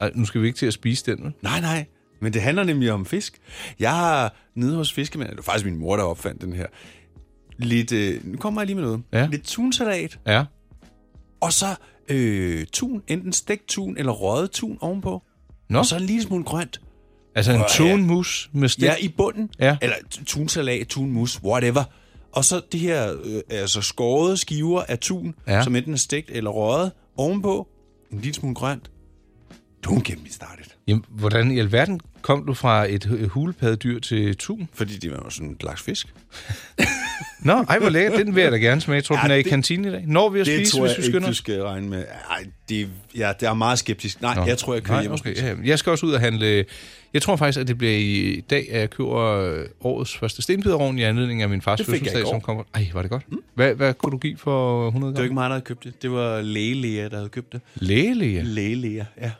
B: Ej, nu skal vi ikke til at spise den, vel?
C: Nej, nej. Men det handler nemlig om fisk. Jeg har nede hos fiskemanden, det var faktisk min mor, der opfandt den her, lidt, øh, nu kommer jeg lige med noget,
B: Ja.
C: lidt tunsalat,
B: Ja.
C: og så øh, tun, enten stegt tun eller røget tun ovenpå,
B: Nå.
C: og så en lille smule grønt.
B: Altså en
C: Prøv at høre.
B: tunmus med stik.
C: Ja, i bunden.
B: Ja.
C: Eller t- tunsalat, tunmus, whatever. Og så det her øh, altså skårede skiver af tun, ja.
B: Ja.
C: som enten er stegt eller røget ovenpå. En lille smule grønt. Don't get me started.
B: Jamen, hvordan i alverden kom du fra et hu- hulepaddyr til tun?
C: Fordi det var jo sådan en slags fisk.
B: Nå, ej, hvor lækkert. Den vil jeg da gerne smage. Jeg tror,
C: Ja,
B: ja, den er i
C: det-
B: kantinen i dag. Når vi at
C: Det
B: spise,
C: tror
B: hvis
C: jeg
B: du
C: ikke,
B: skynder?
C: du
B: os?
C: skal regne med. Ej, det, ja, det er meget skeptisk. Nej, Nå.
B: Nå.
C: jeg tror, jeg kører
B: Nej,
C: hjem og
B: okay,
C: spiser.
B: ja, jamen, Jeg skal også ud og handle. Jeg tror faktisk, at det bliver i dag, at jeg køber øh, årets første stenbiderovn i anledning af min fars
C: Det fik jeg i
B: fødselsdag,
C: går. Mm.
B: som kommer. Ej, var det godt. Hvad, hvad kunne du give for 100
C: Det var
B: gram?
C: ikke mig, der havde købt det. Det var lægelea, der havde købt det.
B: Lægelige.
C: Lægelea, ja.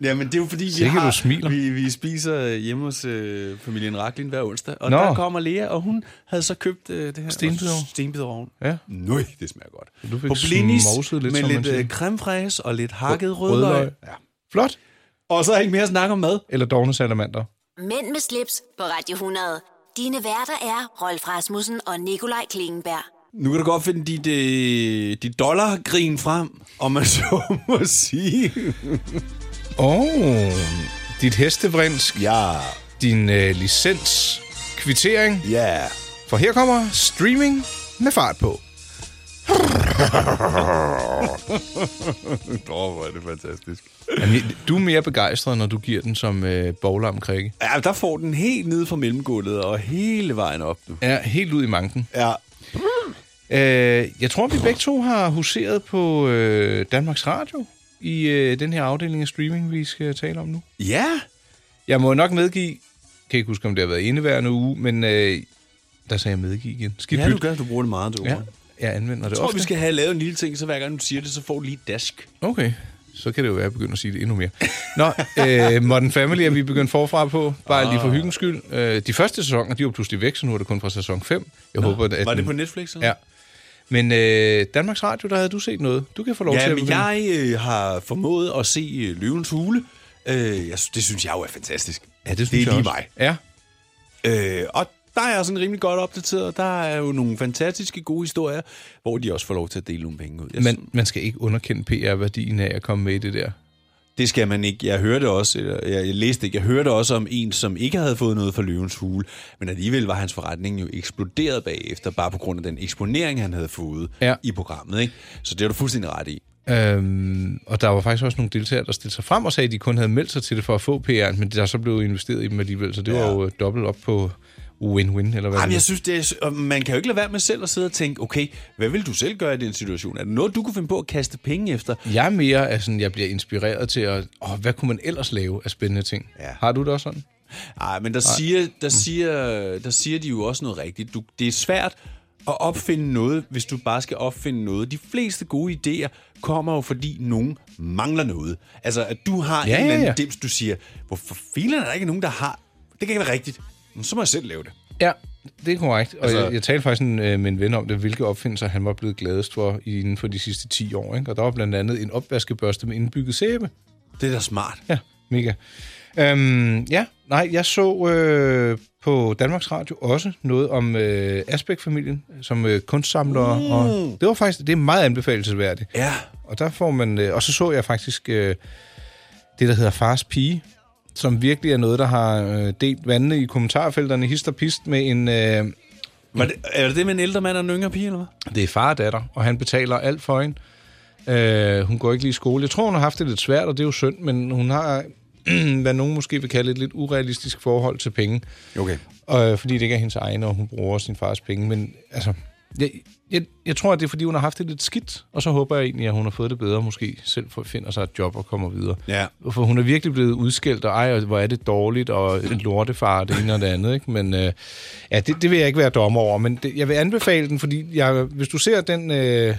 C: Jamen, det er jo fordi, vi,
B: Sikke, du
C: har,
B: smiler.
C: vi, vi spiser hjemme hos øh, familien Raklin hver onsdag. Og Nå.
B: Nå.
C: der kommer Lea, og hun havde så købt øh, det her
B: Stenbiderovn.
C: stenbiderovn.
B: Ja.
C: Nøj, det smager godt.
B: Du fik
C: På blinis
B: smogset lidt,
C: med
B: som man
C: lidt øh,
B: siger.
C: creme fraise og lidt hakket
B: Rødløg.
C: rødløg. Ja.
B: Flot.
C: Og så er ikke mere at snakke om mad.
B: Eller dogne salamander.
A: Mænd med slips på Radio 100. Dine værter er Rolf Rasmussen og Nikolaj Klingenberg.
C: Nu kan du godt finde dit, øh, dit dollargrin frem, om man så må sige.
B: Åh, oh, dit hestevrinsk,
C: Ja,
B: din øh, licens, kvittering.
C: ja.
B: For her kommer streaming med fart på.
C: Åh, hvor er det fantastisk.
B: Jamen, du er mere begejstret, når du giver den som øh, bowler om krikke.
C: Ja, der får den helt nede fra mellemgulvet og hele vejen op nu.
B: Ja, helt ud i manken.
C: Ja.
B: Øh, jeg tror, vi begge to har huseret på øh, Danmarks Radio i øh, den her afdeling af streaming, vi skal tale om nu.
C: Ja.
B: Jeg må nok medgive, kan ikke huske, om det har været indeværende uge, men øh, der sagde jeg medgive igen. Skal
C: ja, du gør, du bruger det meget, du
B: Ja, jeg anvender det
C: Jeg tror,
B: ofte.
C: vi skal have lavet en lille ting, så hver gang du siger det, så får du lige et dask.
B: Okay, så kan det jo være, at jeg begynder at sige det endnu mere. Nå, øh, Modern Family er vi begyndt forfra på, bare lige
C: Ah.
B: for hyggens skyld. Øh, de første sæsoner, de var pludselig væk, så nu er det kun fra sæson 5. Jeg Nå, håber, at
C: Var det
B: den-
C: på Netflix? Eller?
B: Ja. Men øh, Danmarks Radio, der havde du set noget. Du kan få lov til
C: Ja,
B: at
C: men
B: begynde.
C: jeg øh, har formået at se øh, Løvens Hule. Øh, jeg, sy- det synes jeg jo er fantastisk.
B: Ja, det, synes
C: det er
B: jeg
C: lige
B: også.
C: mig.
B: Ja,
C: Øh, og der er jeg sådan rimelig godt opdateret. Der er jo nogle fantastiske gode historier, hvor de også får lov til at dele nogle penge ud. Jeg synes,
B: men man skal ikke underkende PR-værdien af at komme med i det der.
C: Det skal man ikke. Jeg hørte også, eller jeg, jeg læste ikke, jeg hørte også om en, som ikke havde fået noget fra løvens hule, men alligevel var hans forretning jo eksploderet bagefter, bare på grund af den eksponering, han havde fået
B: Ja.
C: i programmet. Ikke? Så det har du fuldstændig ret i.
B: Øhm, og der var faktisk også nogle deltagere, der stillede sig frem og sagde, at de kun havde meldt sig til det for at få PR'en, men der er så blev investeret i dem alligevel, så det ja. var jo øh, dobbelt op på win-win, eller hvad
C: Jamen,
B: det
C: jeg synes, det er, og man kan jo ikke lade være med selv at sidde og tænke, okay, hvad vil du selv gøre i den situation? Er det noget, du kunne finde på at kaste penge efter?
B: Jeg er mere af sådan, jeg bliver inspireret til at, åh, hvad kunne man ellers lave af spændende ting? Ja. Har du det også sådan?
C: Nej, Mm. men der, siger, der, siger, der siger de jo også noget rigtigt. Du, det er svært at opfinde noget, hvis du bare skal opfinde noget. De fleste gode idéer kommer jo, fordi nogen mangler noget. Altså, at du har ja,
B: Ja,
C: en eller anden
B: ja, ja.
C: dims, du siger, hvorfor filen er der ikke nogen, der har? Det kan ikke være rigtigt. Men så må jeg selv lave det.
B: Ja, det er korrekt. Og
C: Altså-
B: altså, jeg, jeg talte faktisk en, øh, med en ven om det, hvilke opfindelser han var blevet gladest for inden for de sidste 10 år. Ikke? Og der var blandt andet en opvaskebørste med indbygget sæbe.
C: Det er da smart.
B: Ja, mega. Øhm, ja, nej, jeg så øh, på Danmarks Radio også noget om øh, Asbæk-familien, som øh, kunstsamlere. Mm. Og det var faktisk det er meget anbefalelsesværdigt.
C: Ja.
B: Og der får man, øh, og så så jeg faktisk øh, det, der hedder Fars Pige, som virkelig er noget, der har øh, delt vandene i kommentarfelterne hist og pist med en... Øh,
C: Var det, er det det med en ældre mand og en yngre pige, eller hvad?
B: det er far og datter, og han betaler alt for hende. Øh, hun går ikke lige i skole. Jeg tror, hun har haft det lidt svært, og det er jo synd, men hun har, hvad nogen måske vil kalde et lidt urealistisk forhold til penge.
C: Okay.
B: Øh, fordi det ikke er hendes egne, og hun bruger sin fars penge. Men altså, jeg, jeg, jeg tror, at det er, fordi hun har haft det lidt skidt, og så håber jeg egentlig, at hun har fået det bedre, og måske selv får- finder sig et job og kommer videre.
C: Ja.
B: For hun er virkelig blevet udskældt, og ej, hvor er det dårligt, og en lortefar, og det ene og det andet. Ikke? Men øh, ja, det, det vil jeg ikke være dommer over, men det, jeg vil anbefale den, fordi jeg, hvis du ser den øh,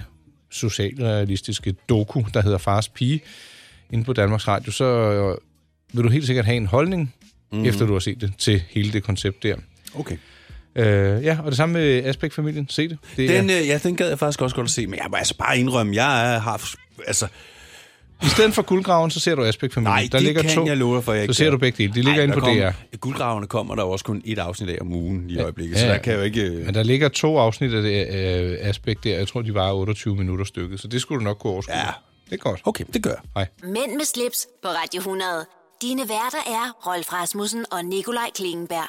B: socialrealistiske doku, der hedder Fars Pige, inde på Danmarks Radio, så øh, vil du helt sikkert have en holdning,
C: Mhm.
B: mm. efter du har set det, til hele det koncept der.
C: Okay.
B: Øh, ja, og det samme med Asbæk-familien. Se det. det er-
C: Den, øh, ja, den gad jeg faktisk også godt at se, men jeg må altså bare indrømme, jeg er- har... Altså,
B: I stedet for guldgraven, så ser du Asbæk-familien.
C: nej,
B: der
C: det
B: ligger
C: kan
B: to.
C: jeg love dig for, jeg
B: Så ser
C: gad.
B: du begge dele. De ligger
C: Ej,
B: inde
C: der
B: på
C: kommer-
B: DR.
C: Guldgraverne kommer der jo også kun et afsnit af om ugen lige i øjeblikket,
B: Ja,
C: så der
B: ja.
C: kan jeg jo ikke... øh,
B: Men der ligger to afsnit af det øh, aspekt der. Jeg tror, de var 28 minutter stykket, så det skulle du nok kunne overskue. Ja. Det er godt.
C: Okay, det gør jeg.
B: Hej.
A: Mænd med slips på Radio 100. Dine værter er Rolf Rasmussen og Nikolaj Klingenberg.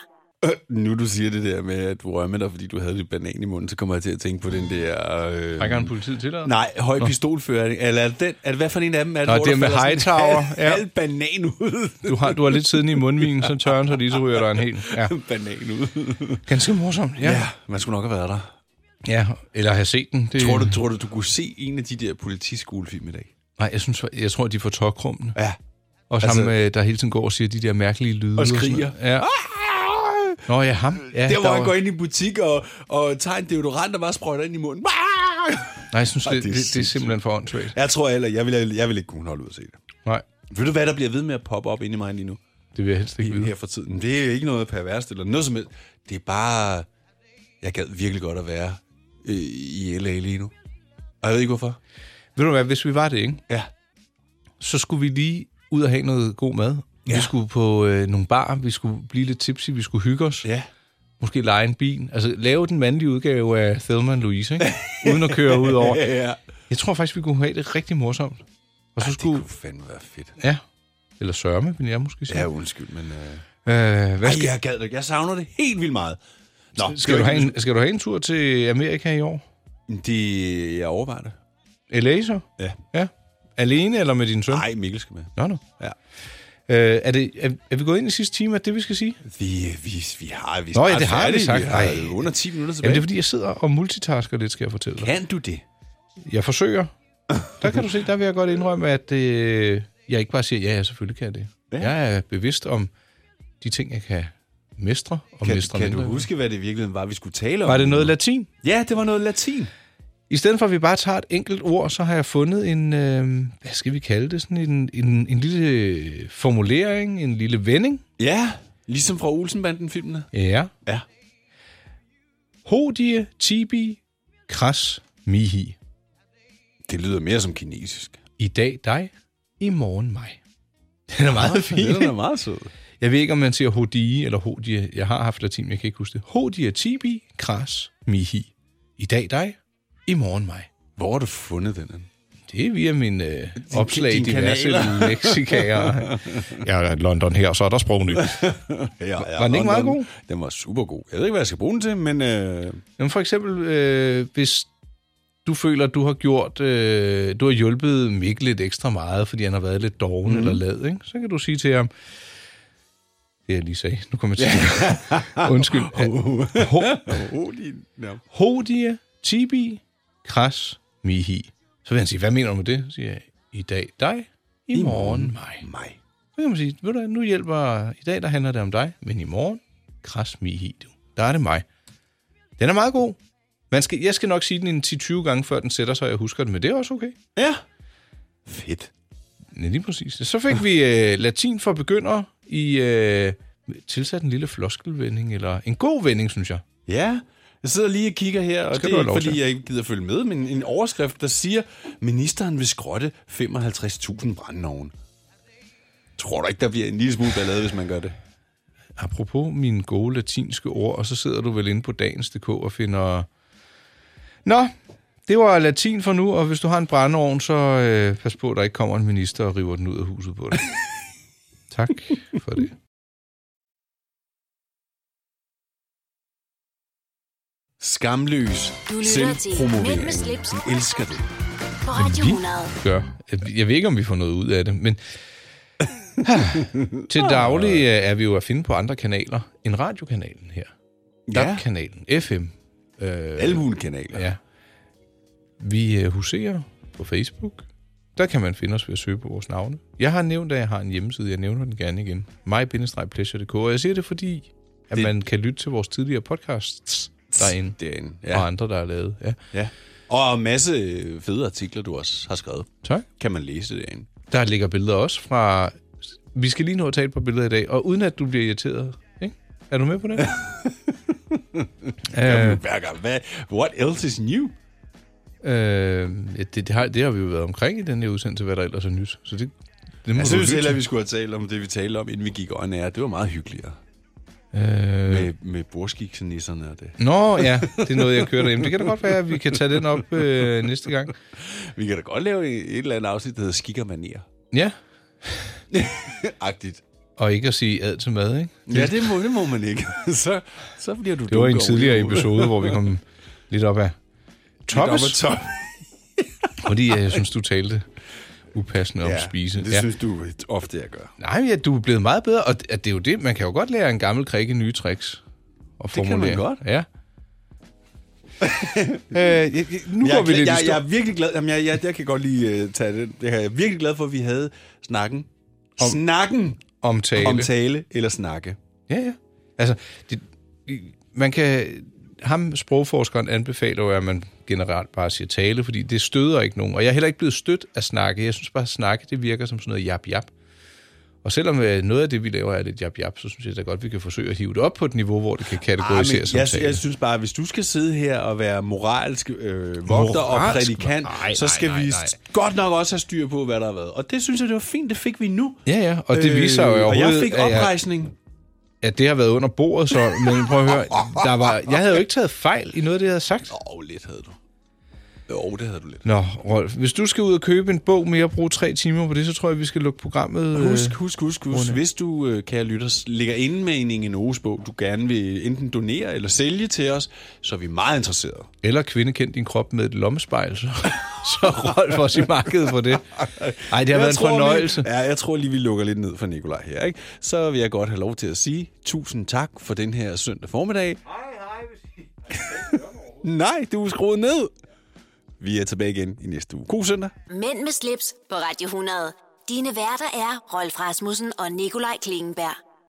C: Nu du siger det der med, at du rømmer dig, fordi du havde lidt banan i munden, så kommer jeg til at tænke på den der... Øh...
B: Rækker han politiet til dig?
C: Nej, høj
B: Nå.
C: pistolføring. Eller er det den, er det, hvad for en af dem er det,
B: Nå,
C: hvor
B: det
C: der
B: er med
C: falder sådan
B: Hightower.
C: en halv, halv banan ud?
B: Du har, du har lidt siden i mundvinen, så tørren, så lige så ryger der en hel. Ja.
C: banan ud.
B: Ganske morsomt, ja.
C: ja. man skulle nok have været der.
B: Ja, eller have set den.
C: Det... Tror, du, tror du, du kunne se en af de der politiskolefilm i dag?
B: Nej, jeg, synes, jeg tror, de får tåkrummende.
C: Ja.
B: Og
C: Altså-
B: sammen altså, med, der hele tiden går og siger de der mærkelige lyde.
C: Og
B: sådan
C: skriger.
B: noget. Ja. Nå ja, ham. Ja,
C: Ja, der, hvor han
B: var-
C: går ind i butik og, og tager en deodorant og bare sprøjter ind i munden. Ah!
B: Nej, jeg synes,
C: Ej,
B: det,
C: det er
B: det, det, er
C: sindssygt.
B: simpelthen for åndssvagt.
C: Jeg tror heller, jeg vil, jeg vil ikke kunne holde ud at se det.
B: Nej,
C: Ved du, hvad der bliver ved med at poppe op inde i mig lige nu?
B: det vil jeg helst ikke
C: Lige
B: vide.
C: her for tiden. Det er ikke noget perverst eller noget som helst. Det er bare... Jeg gad virkelig godt at være øh, i LA lige nu. Og jeg ved ikke, hvorfor.
B: Ved du hvad, hvis vi var det, ikke?
C: Ja.
B: Så skulle vi lige ud og have noget god mad. Ja. Vi skulle på øh, nogle bar, vi skulle blive lidt tipsy, vi skulle hygge os.
C: Ja.
B: Måske lege en bil. Altså lave den mandlige udgave af Thelma Louise, ikke? Uden at køre ud over.
C: ja.
B: Jeg tror faktisk, vi kunne have det rigtig morsomt. Og så
C: Ej,
B: skulle...
C: Det kunne fandme være fedt.
B: Ja. Eller sørme, vil jeg måske sige.
C: Ja, undskyld, men... Øh...
B: Øh, hvad
C: Ej,
B: skal,
C: jeg gad det. ikke. Jeg savner det helt vildt meget. Nå,
B: skal, du have en, skal du have en tur til Amerika i år?
C: Det, jeg overvejer det.
B: LA så?
C: Ja.
B: Ja. Alene eller med din søn?
C: Nej, Mikkel skal med.
B: Nå, nå.
C: Ja.
B: Øh, er, det, er, er vi gået ind i sidste time, at det, vi skal sige?
C: Vi, vi, vi har... Vi er
B: Nå ja,
C: snart
B: det har vi
C: færdige.
B: sagt.
C: Vi har
B: Ej.
C: under 10 minutter tilbage.
B: Jamen, det er fordi, jeg sidder og multitasker lidt, skal jeg fortælle dig.
C: Kan du det?
B: Jeg forsøger. Der kan du se, der vil jeg godt indrømme, at øh, jeg ikke bare siger, ja, ja, selvfølgelig kan jeg det.
C: Ja.
B: Ja. Jeg er bevidst om de ting, jeg kan mestre og
C: Kan,
B: mestre
C: kan du
B: mindre.
C: huske, hvad det i virkeligheden var, vi skulle tale om?
B: Var det noget latin?
C: Ja, det var noget latin.
B: I stedet for, at vi bare tager et enkelt ord, så har jeg fundet en, øh, hvad skal vi kalde det, sådan en, en, en lille formulering, en lille vending.
C: Ja, ligesom fra Olsenbanden-filmene.
B: Ja.
C: Ja.
B: Hodie tibi kras mihi.
C: Det lyder mere som kinesisk.
B: I dag dig, i morgen mig. Den er meget fin.
C: Den er meget sød.
B: Jeg ved ikke, om man siger hodie eller hodie. Jeg har haft latin, men jeg kan ikke huske det. Hodie tibi kras mihi. I dag dig, i morgen mig.
C: Hvor har du fundet den? henne?
B: Det er via min øh, opslag i
C: dine
B: diverse
C: kanaler.
B: leksikager. Jeg er i London her, så er der sprognyt.
C: Ja, ja,
B: Var den ikke meget god?
C: Den var super god. Jeg ved ikke, hvad jeg skal bruge den til, men... Øh,
B: Jamen for eksempel, øh, hvis du du føler, at du har gjort, øh, du har hjulpet Mikkel lidt ekstra meget, fordi han har været lidt doven mm. eller lad, ikke? så kan du sige til ham, det jeg lige sagde, nu kommer jeg til. Undskyld.
C: Ja.
B: Hodia, Tibi, Kras, Mihi. Så vil han sige, hvad mener du med det? Så siger jeg, i dag dig, i,
C: I morgen
B: morgen mig. mig. Så kan man sige, ved du hvad, nu hjælper, i dag der handler det om dig, men i morgen, Kras, Mihi, du. Der er det mig. Den er meget god. Man skal, jeg skal nok sige den en 10-20 gange, før den sætter sig, og jeg husker den, men det er også okay.
C: Ja. Fedt.
B: Ja, lige præcis. Så fik vi øh, latin for begyndere i øh, tilsat en lille floskelvending, eller en god vending, synes jeg.
C: Ja, jeg sidder lige og kigger her, og
B: Skal
C: det er
B: du have
C: ikke,
B: lov til.
C: fordi jeg ikke gider følge med, men en overskrift, der siger, ministeren vil skrotte 55.000 brændenovn. Tror du ikke, der bliver en lille smule ballade, hvis man gør det?
B: Apropos mine gode latinske ord, og så sidder du vel inde på dagens.dk og finder... Nå, det var latin for nu, og hvis du har en brændeovn, så øh, pas på, at der ikke kommer en minister og river den ud af huset på dig. tak for det.
C: Skamløs.
A: Du lytter til Mænd
C: Selvpromovering.
A: med slips.
C: Vi elsker det.
A: På Radio
B: vi-
A: 100.
B: gør. Jeg- Jeg ved ikke, om vi får noget ud af det, men til daglig øh, er vi jo at finde på andre kanaler end radiokanalen her.
C: Ja.
B: DAB-kanalen, FM. Øh,
C: Alle mulige kanaler.
B: Ja. Vi øh, huserer på Facebook. Der kan man finde os ved at søge på vores navne. Jeg har nævnt, at jeg har en hjemmeside. Jeg nævner den gerne igen. mig-pleasure.dk. Og jeg siger det, fordi at
C: Det-
B: man kan lytte til vores tidligere podcasts derinde.
C: Derinde, ja.
B: Ja. Og andre, der er lavet. Ja.
C: Ja. Og en masse fede artikler, du også har skrevet.
B: Tak.
C: Kan man læse derinde.
B: Der ligger billeder også fra... Vi skal lige nå at tale på billeder i dag, og uden at du bliver irriteret. Ikke? Er du med på det?
C: Jamen,
B: øh, Altså,
C: hver gang. Hvad? What else is new?
B: øh, ja, det, det, har, det har vi jo været omkring i den her udsendelse, hvad der ellers er nyt. Så det, det må
C: Jeg
B: du
C: synes
B: lytte
C: heller,
B: til.
C: at vi skulle have talt om det, vi talte om, inden vi gik on air. Det var meget hyggeligere.
B: Øh,
C: Med, med bordskiksenisserne og det.
B: Nå ja, det er noget, jeg kører derhjemme. Det kan da godt være, at vi kan tage den op øh, næste gang.
C: Vi kan da godt lave et eller andet afsnit, der hedder Skik og Manier.
B: Ja,
C: Agtigt.
B: og ikke at sige ad til mad, ikke?
C: Ja, det må, det må man ikke. så, så bliver du
B: Det var en
C: dunker
B: tidligere
C: over.
B: episode, hvor vi kom lidt op af
C: Lidt
B: Toppes,
C: op ad top.
B: fordi øh, jeg synes, du talte upassende om
C: Ja,
B: spise.
C: det synes du ofte, jeg gør.
B: Nej, men ja, du er blevet meget bedre, og det, at det er jo det, man kan jo godt lære en gammel krikke nye tricks. Og
C: kan man
B: formulere.
C: godt.
B: Ja. øh, jeg, jeg, nu
C: jeg,
B: går vi
C: er glad-
B: lidt i
C: jeg,
B: stå.
C: jeg er virkelig glad. Jamen, jeg, jeg, jeg kan godt lige uh, tage den. Jeg er virkelig glad for, at vi havde snakken. Om, snakken
B: om tale.
C: om tale eller snakke.
B: Ja, ja. Altså, det, man kan... Ham, sprogforskeren, anbefaler jo, at man generelt bare siger tale, fordi det støder ikke nogen. Og jeg er heller ikke blevet stødt af snakke. Jeg synes bare, at snakke, det virker som sådan noget jap-jap. Og selvom øh, noget af det, vi laver, er lidt jap-jap, så synes jeg da godt, vi kan forsøge at hive det op på et niveau, hvor det kan
C: Ej, Ah, men
B: kategoriseres som
C: jeg,
B: tale.
C: jeg synes bare, at hvis du skal sidde her og være moralsk øh, vogter og
B: Moralsk?
C: prædikant,
B: Nej,
C: så
B: nej,
C: skal
B: nej,
C: vi
B: nej.
C: godt nok også have styr på, hvad der har været. Og det synes jeg, det var fint, det fik vi nu.
B: Ja, ja, og det viser jo
C: Øh, Og jeg
B: overhovedet,
C: fik
B: at jeg-
C: oprejsning.
B: at det har været under bordet, så, men prøv at høre, der var, jeg havde jo ikke taget fejl i noget af det, jeg havde sagt.
C: Åh, oh, lidt havde du. Jo, det havde du lidt.
B: Nå, Rolf, hvis du skal ud og købe en bog mere og bruge tre timer på det, så tror jeg, vi skal lukke programmet. øh,
C: Husk, husk, husk, husk. Hvis du, øh, kære lytter, ligger inde med en Inge Noges bog, du gerne vil enten donere eller sælge til os, så er vi meget interesserede.
B: Eller kvinde kendt din krop med et lommespejl, så, så Rolf også i markedet for det. Nej, det har
C: Jeg
B: været en
C: tror,
B: fornøjelse.
C: Vi, ja, jeg tror lige, vi lukker lidt ned for Nikolaj her. Ikke? Så vil jeg godt have lov til at sige tusind tak for den her søndag formiddag. Nej, du er skruet ned. Vi er tilbage igen i næste uge. God søndag.
A: Mænd med slips på Radio 100. Dine værter er Rolf Rasmussen og Nikolaj Klingenberg.